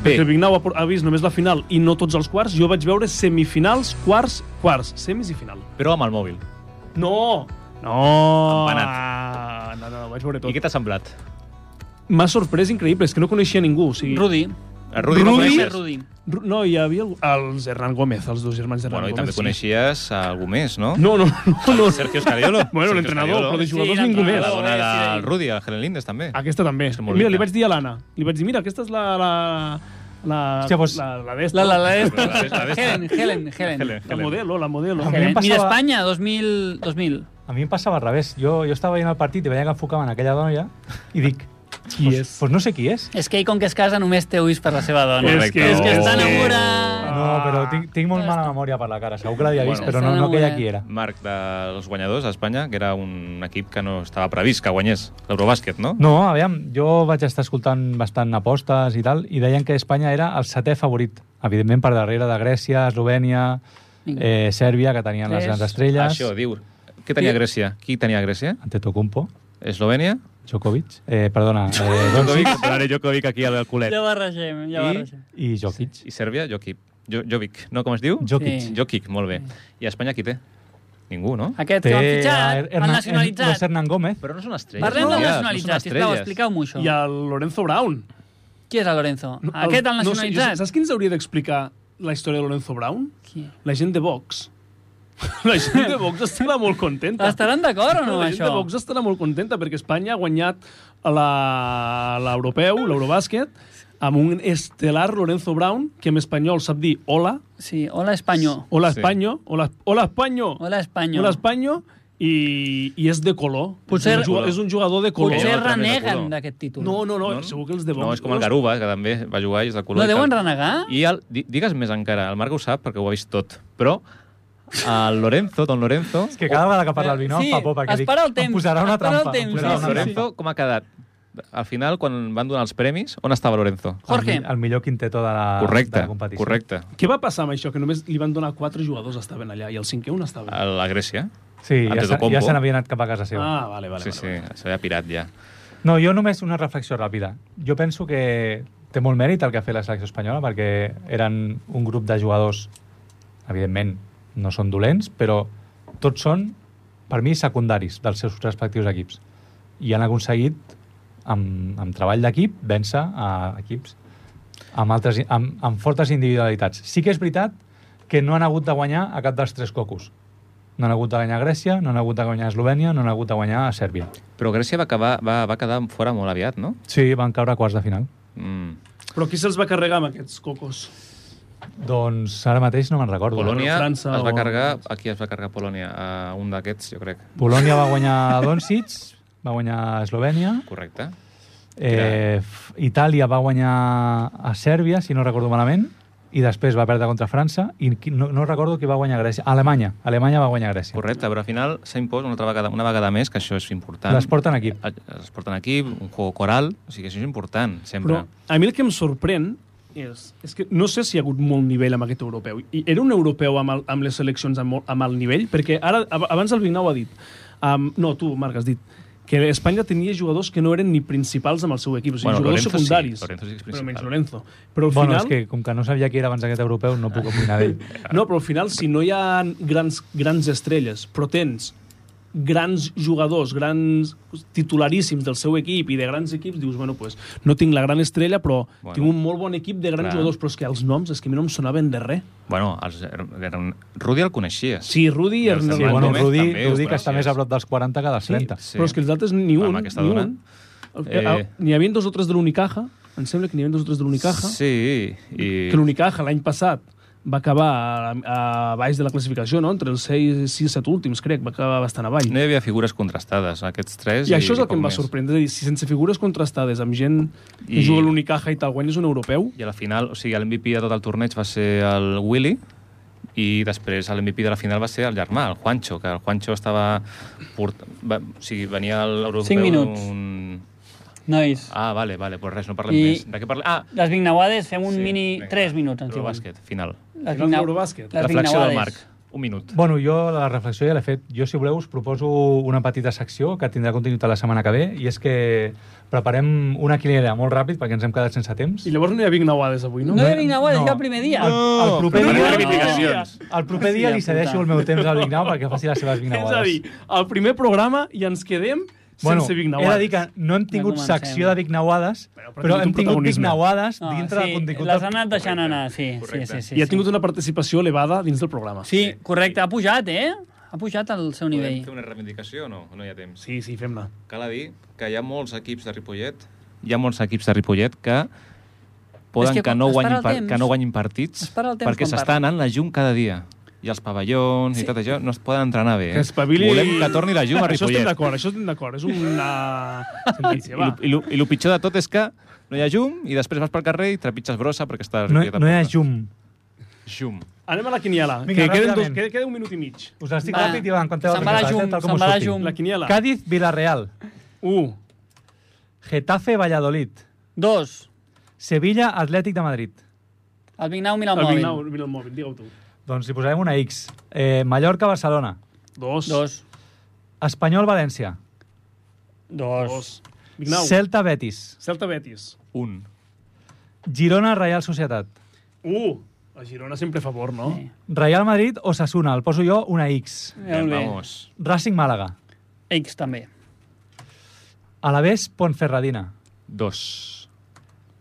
Bé. Perquè el Vignau ha por- ha vist només la final i no tots els quarts. Jo vaig veure semifinals, quarts, quarts, semis i final. Però amb el mòbil. No! No! Empanat. Ah, no, no, ho vaig veure I tot. què t'ha semblat? M'ha sorprès increïble, és que no coneixia ningú. O sigui, Rudi. A Rudi, no Rudi? Ser coneixes? Rudi. Ru- No, hi havia algú- els Hernán Gómez, els dos germans d'Hernán Bueno, i Gómez. també sí. coneixies a algú més, no? No, no, no. no. Sergio Escariolo. Bueno, Sergio l'entrenador, Escariolo. però de jugadors Sí, ningú més. La l'entrenador. dona Sí, eh, sí. del Rudi, el Helen Lindes, també. Aquesta també. És molt Mira, li rica. vaig dir a l'Anna. Li vaig dir, mira, aquesta és la... la la, Hòstia, doncs- la, la d'esta. La, la, la, La d'esta, la la, d'esta. Helen, Helen, Helen. Helen. la modelo, la modelo. A mi em Helen. Mira, passava- Espanya, 2000. 2000. A mi em passava al revés. Jo, jo estava veient el partit i veia que enfocaven aquella noia i dic, Qui pues, és? pues no sé qui és. És que ell, com que es casa, només té ulls per la seva dona. És Correcte. que- és que Oh. Està Sí. enamorat. No, però tinc, tinc molt mala memòria per la cara. Segur que l'havia vist, Ah. Bueno. però no, no aquella Està qui era. Marc dels guanyadors a Espanya, que era un equip que no estava previst que guanyés l'Eurobàsquet, no? No, aviam, jo vaig estar escoltant bastant apostes i tal, i deien que Espanya era el setè favorit. Evidentment, per darrere de Grècia, Eslovènia, eh, Sèrbia, que tenien les Tres. grans estrelles. Això, diu. Què tenia Grècia? Qui tenia Grècia? Antetokounmpo, Eslovènia? Djokovic, eh, perdona, eh, Doncic Jokovic, posaré Jokovic aquí al culet. Ja barregem, ja barregem. i Jokic. I Sèrbia, Jokic. Jo, Jovic, no? Com es diu? Jokic. Sí. Jokic, molt bé. I a Espanya qui té? Ningú, no? Aquest que l'han a fitxat, Hernan- l'han Los nacionalitzat. Hernán Gómez. Però no són estrelles. Parlem no, de ja, nacionalitzat, no són sisplau, estrelles. expliqueu-m'ho això. I el Lorenzo Brown. Qui és el Lorenzo? No, Aquest el no sé, nacionalitzat? saps qui ens hauria d'explicar la història de Lorenzo Brown? Qui? La gent de Vox. La gent de Vox estarà molt contenta. Estaran d'acord o no, la gent això? de Vox estarà molt contenta perquè Espanya ha guanyat la- l'europeu, l'Eurobàsquet, amb un estelar Lorenzo Brown, que en espanyol sap dir hola, Sí, hola Espanyol. hola Sí. Espanyo, hola, hola Espanyo, Hola Espanyol. hola Espanyo, i, i és de color. Potser- és, un jugador, és un jugador de color. Potser Color, també de reneguen color. d'aquest títol. No, no, no, segur que els de Vox... No, és com el Garuba, que també va jugar i és de color. No i tal. deuen renegar? I el, di- digues més encara, el Marc ho sap perquè ho ha vist tot, però el Lorenzo, don Lorenzo... És que cada vegada que parla el Vinó Sí, em fa por, perquè es dic, para el temps, em posarà una es para el trampa. em temps, posarà Però sí, una sí, trampa. Lorenzo, com ha quedat? Al final, quan van donar els premis, on estava Lorenzo? Jorge. El, el millor quinteto de Ah, la, de Correcte, la competició. correcte. Què va passar amb això? Que només li van donar quatre jugadors estaven allà i el cinquè un estava... A la Grècia. Sí, ja, se- Antetokounmpo. ja se n'havia anat cap a casa seva. Ah, vale, vale. Sí, vale, sí, vale. això ja pirat, ja. No, jo només una reflexió ràpida. Jo penso que té molt mèrit el que ha fet la selecció espanyola perquè eren un grup de jugadors, evidentment, no són dolents, però tots són, per mi, secundaris dels seus respectius equips. I han aconseguit, amb, amb treball d'equip, vèncer a equips amb, altres, amb, amb fortes individualitats. Sí que és veritat que no han hagut de guanyar a cap dels tres cocos. No han hagut de guanyar a Grècia, no han hagut de guanyar a Eslovènia, no han hagut de guanyar a Sèrbia. Però Grècia va, acabar, va, va quedar fora molt aviat, no? Sí, van caure a quarts de final. Mm. Però qui se'ls va carregar amb aquests cocos? Doncs ara mateix no me'n recordo. Polònia França es va o- carregar... Aquí es va carregar Polònia, a un d'aquests, jo crec. Polònia va guanyar a Doncic, va guanyar a Eslovènia, Correcte. eh, f- Itàlia va guanyar a Sèrbia, si no recordo malament, i després va perdre contra França, i qui- no, no recordo qui va guanyar a Grècia. Alemanya. Alemanya va guanyar a Grècia. Correcte, però al final s'ha impost una, altra vegada, una vegada més, que això és important. Les porten aquí. Es porten aquí, un juego coral, o sigui, això és important, sempre. Però a mi el que em sorprèn és, és que no sé si hi ha hagut molt nivell amb aquest europeu. I era un europeu amb, el, amb les seleccions amb, molt- amb alt nivell? Perquè ara, ab- abans el Vignau ha dit, um, no, tu, Marc, has dit, que Espanya tenia jugadors que no eren ni principals amb el seu equip, o sigui, Bueno, jugadors Lorenzo sí, secundaris. Lorenzo sí que és però menys principal. Lorenzo. Però al Bueno, final... és que com que no sabia qui era abans aquest europeu, no puc opinar d'ell. No, però al final, si no hi ha grans, grans estrelles, però tens grans jugadors, grans titularíssims del seu equip i de grans equips, dius, bueno, pues, no tinc la gran estrella, però Bueno. bueno, tinc un molt bon equip de grans Clar. clar. jugadors, però és que els noms, és que a mi no em sonaven de res. Bueno, els, eren- Rudi el coneixies. Sí, Rudi i Ja Hernández. Sí, Fernández bueno, Gómez Rudi, també, Rudi que gràcies. està més a prop dels 40 que dels Sí, 30. però és que els altres ni Amb un, aquesta ni dona. un. Eh. Eh... N'hi havia dos o tres de l'Unicaja, em sembla que n'hi havia dos o tres de l'Unicaja, Sí, i... que l'Unicaja l'any passat va acabar a, a baix de la classificació, no? entre els 6 i 7 últims, crec, va acabar bastant avall. No hi havia figures contrastades, aquests tres. I això és el que poc em va més. sorprendre, és a dir, si sense figures contrastades, amb gent que I- juga a l'Unicaja i tal, guanyes un europeu, I a la final, o sigui, l'MVP de tot el torneig va ser el Willy, i després l'MVP de la final va ser el germà, el Juancho, que el Juancho estava... Port... Va... O sigui, venia a l'europeu... Cinc minuts. Un... Nois, Ah, vale, vale, pues res, no parlem I- més. De què parlem? Ah, les Vignauades fem un sí, mini... vinga, 3 va. minuts ens diuen. Eurobàsquet, final. Les Final Vignau- d'Eurobàsquet. les Reflexió del Vignauades. Marc. Un minut. Bueno, jo la reflexió ja l'he fet. Jo, si voleu, us proposo una petita secció que tindrà continuïtat la setmana que ve, i és que preparem una quinera molt ràpid, perquè ens hem quedat sense temps. i llavors no hi ha Vignauades avui, no? No hi ha Vignauades, No. ja el primer dia. El, el proper Preparem dia, reivindicacions. el proper dia li Hòstia cedeixo puta. el meu temps al Vignau perquè faci les seves És a dir, Vignauades. el primer programa i ens quedem Bueno, sense he Vignauades. de dir que no hem tingut comencem. secció de Vignauades, Però- però, però ha tingut hem tingut protagonisme. Vignauades No, dintre del sí, contingut. l'has del- anat deixant anar, sí, sí, Correcte. sí, sí. I ha sí. tingut una participació elevada dins del programa. Sí, correcte, ha pujat, eh? Ha pujat al seu Podem nivell. fer una reivindicació o no? No hi ha temps. Sí, sí, fem-ne. Cal a dir que hi ha molts equips de Ripollet, hi ha molts equips de Ripollet que poden És que que, no es para guanyin el par- temps. que no guanyin partits Es para el temps perquè quan s'està parla. anant la llum cada dia i els pavellons sí. i tot això no es poden entrenar bé. eh? Que espavili... Volem que torni la llum a Això estem Ripollet. d'acord, això estem d'acord. És una sentència, va. I el pitjor de tot és que no hi ha llum i després vas pel carrer i trepitges brossa perquè està... No, Ripollet a no hi ha poble. llum. Llum. Anem a la quiniela, Vinga, que queden dos, ràpidament. queda, queda un minut i mig. Us estic Va, ràpid i va, en compteu se'n va la llum, se'n va la llum. La quiniela. Cádiz, Villarreal. 1, Getafe, Valladolid. Dos. Sevilla, Atlètic de Madrid. El Vignau mira el el mòbil. Vignau, mira el mòbil, digue-ho tu. Doncs hi posarem una X. Eh, Mallorca, Barcelona. 2, Dos. Espanyol, València. Dos. Vignau, Celta, Betis. Celta Betis. Un. Girona, Real Societat. 1, a Girona sempre a favor, no? Sí. Real Madrid, Osasuna. El poso jo una X. Molt bé. Vamos. Racing, Màlaga. X també. Alavés, Pontferradina. Dos.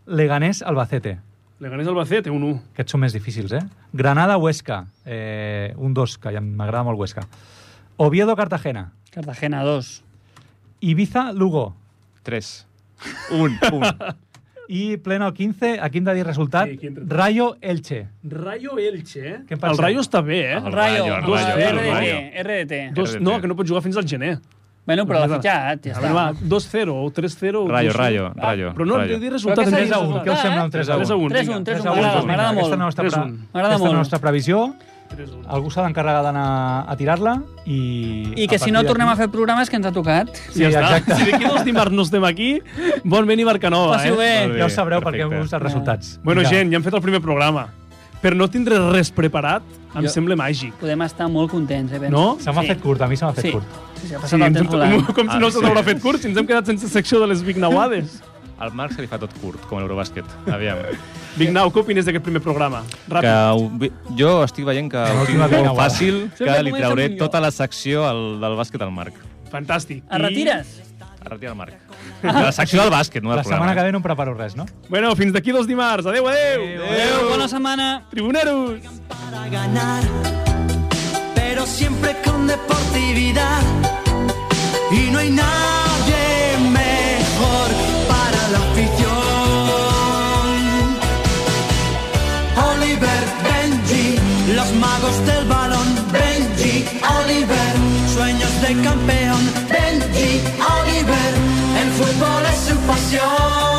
Leganés, Albacete. Leganés Albacete, un 1. Aquests són més difícils, eh? Granada, Huesca. Eh, un 2, que ja m'agrada molt Huesca. Oviedo, Cartagena. Cartagena, dos. Ibiza, Lugo. Tres. Un. Un. I pleno 15, a quin de dir resultat? Sí, quin resultat? Rayo, Elche. Rayo Elche, eh? Què en penseu? el Rayo està bé, eh? El Rayo, Rayo, el amb el Rayo, el RDT, RDT. Dos, no, que no pot jugar fins al gener. Bueno, però l'ha fitxat, ja A està. veure, va, 2-0 o 3-0. o Rayo, 2-1. Rayo, Ah, Rayo, Però no, Rayo. de dir resultat Però què s'ha 3 és a dit? 1. resultat, Què us sembla eh? un 3 a 1? 3 a un, 3 a vinga. 1, 3 Aquesta a 1. M'agrada, m'agrada és la molt. nostra, Tres pre- un. M'agrada aquesta és la molt. nostra previsió. 3-1. Algú s'ha d'encarregar d'anar a tirar-la i... I que si no tornem a fer programes que ens ha tocat. Sí, exacte. Si d'aquí dos dimarts no estem aquí, bon vent i Barcanova, Passi-ho eh? bé. Molt Ja ho sabreu Perfecte. perquè heu vist els resultats. Bueno, Vinga. gent, ja hem fet el primer programa. Per no tindre res preparat, em Jo- sembla màgic. Podem estar molt contents, eh, Ben? No? Se m'ha Sí. fet curt, a mi se m'ha fet Sí. curt. Sí, sí, ha Sí, passat ens el hem, temps volant. com si no Ah, se sí. n'haurà fet curt, si ens hem quedat sense secció de les Vignauades. Al Marc se li fa tot curt, com l'Eurobàsquet. Aviam. Vignau, què opines d'aquest primer programa? Ràpid. que ho, vi- jo estic veient que ho tinc última molt vegada. fàcil, que Sempre li comença trauré amb un jo. tota la secció al, del bàsquet al Marc. Fantàstic. Et retires? A retirar el Marc. De la secció del bàsquet, no del La setmana que programa. ve no em preparo res, no? I... Bueno, fins d'aquí dos dimarts. Adéu, adéu. Adéu, bona setmana. Tribuneros. para ganar, pero siempre con deportividad. Y no hay nadie mejor para la afición. Oliver, Benji, los magos del balón. Benji, Oliver, sueños de campeón. Benji, Oliver, el fútbol es su pasión.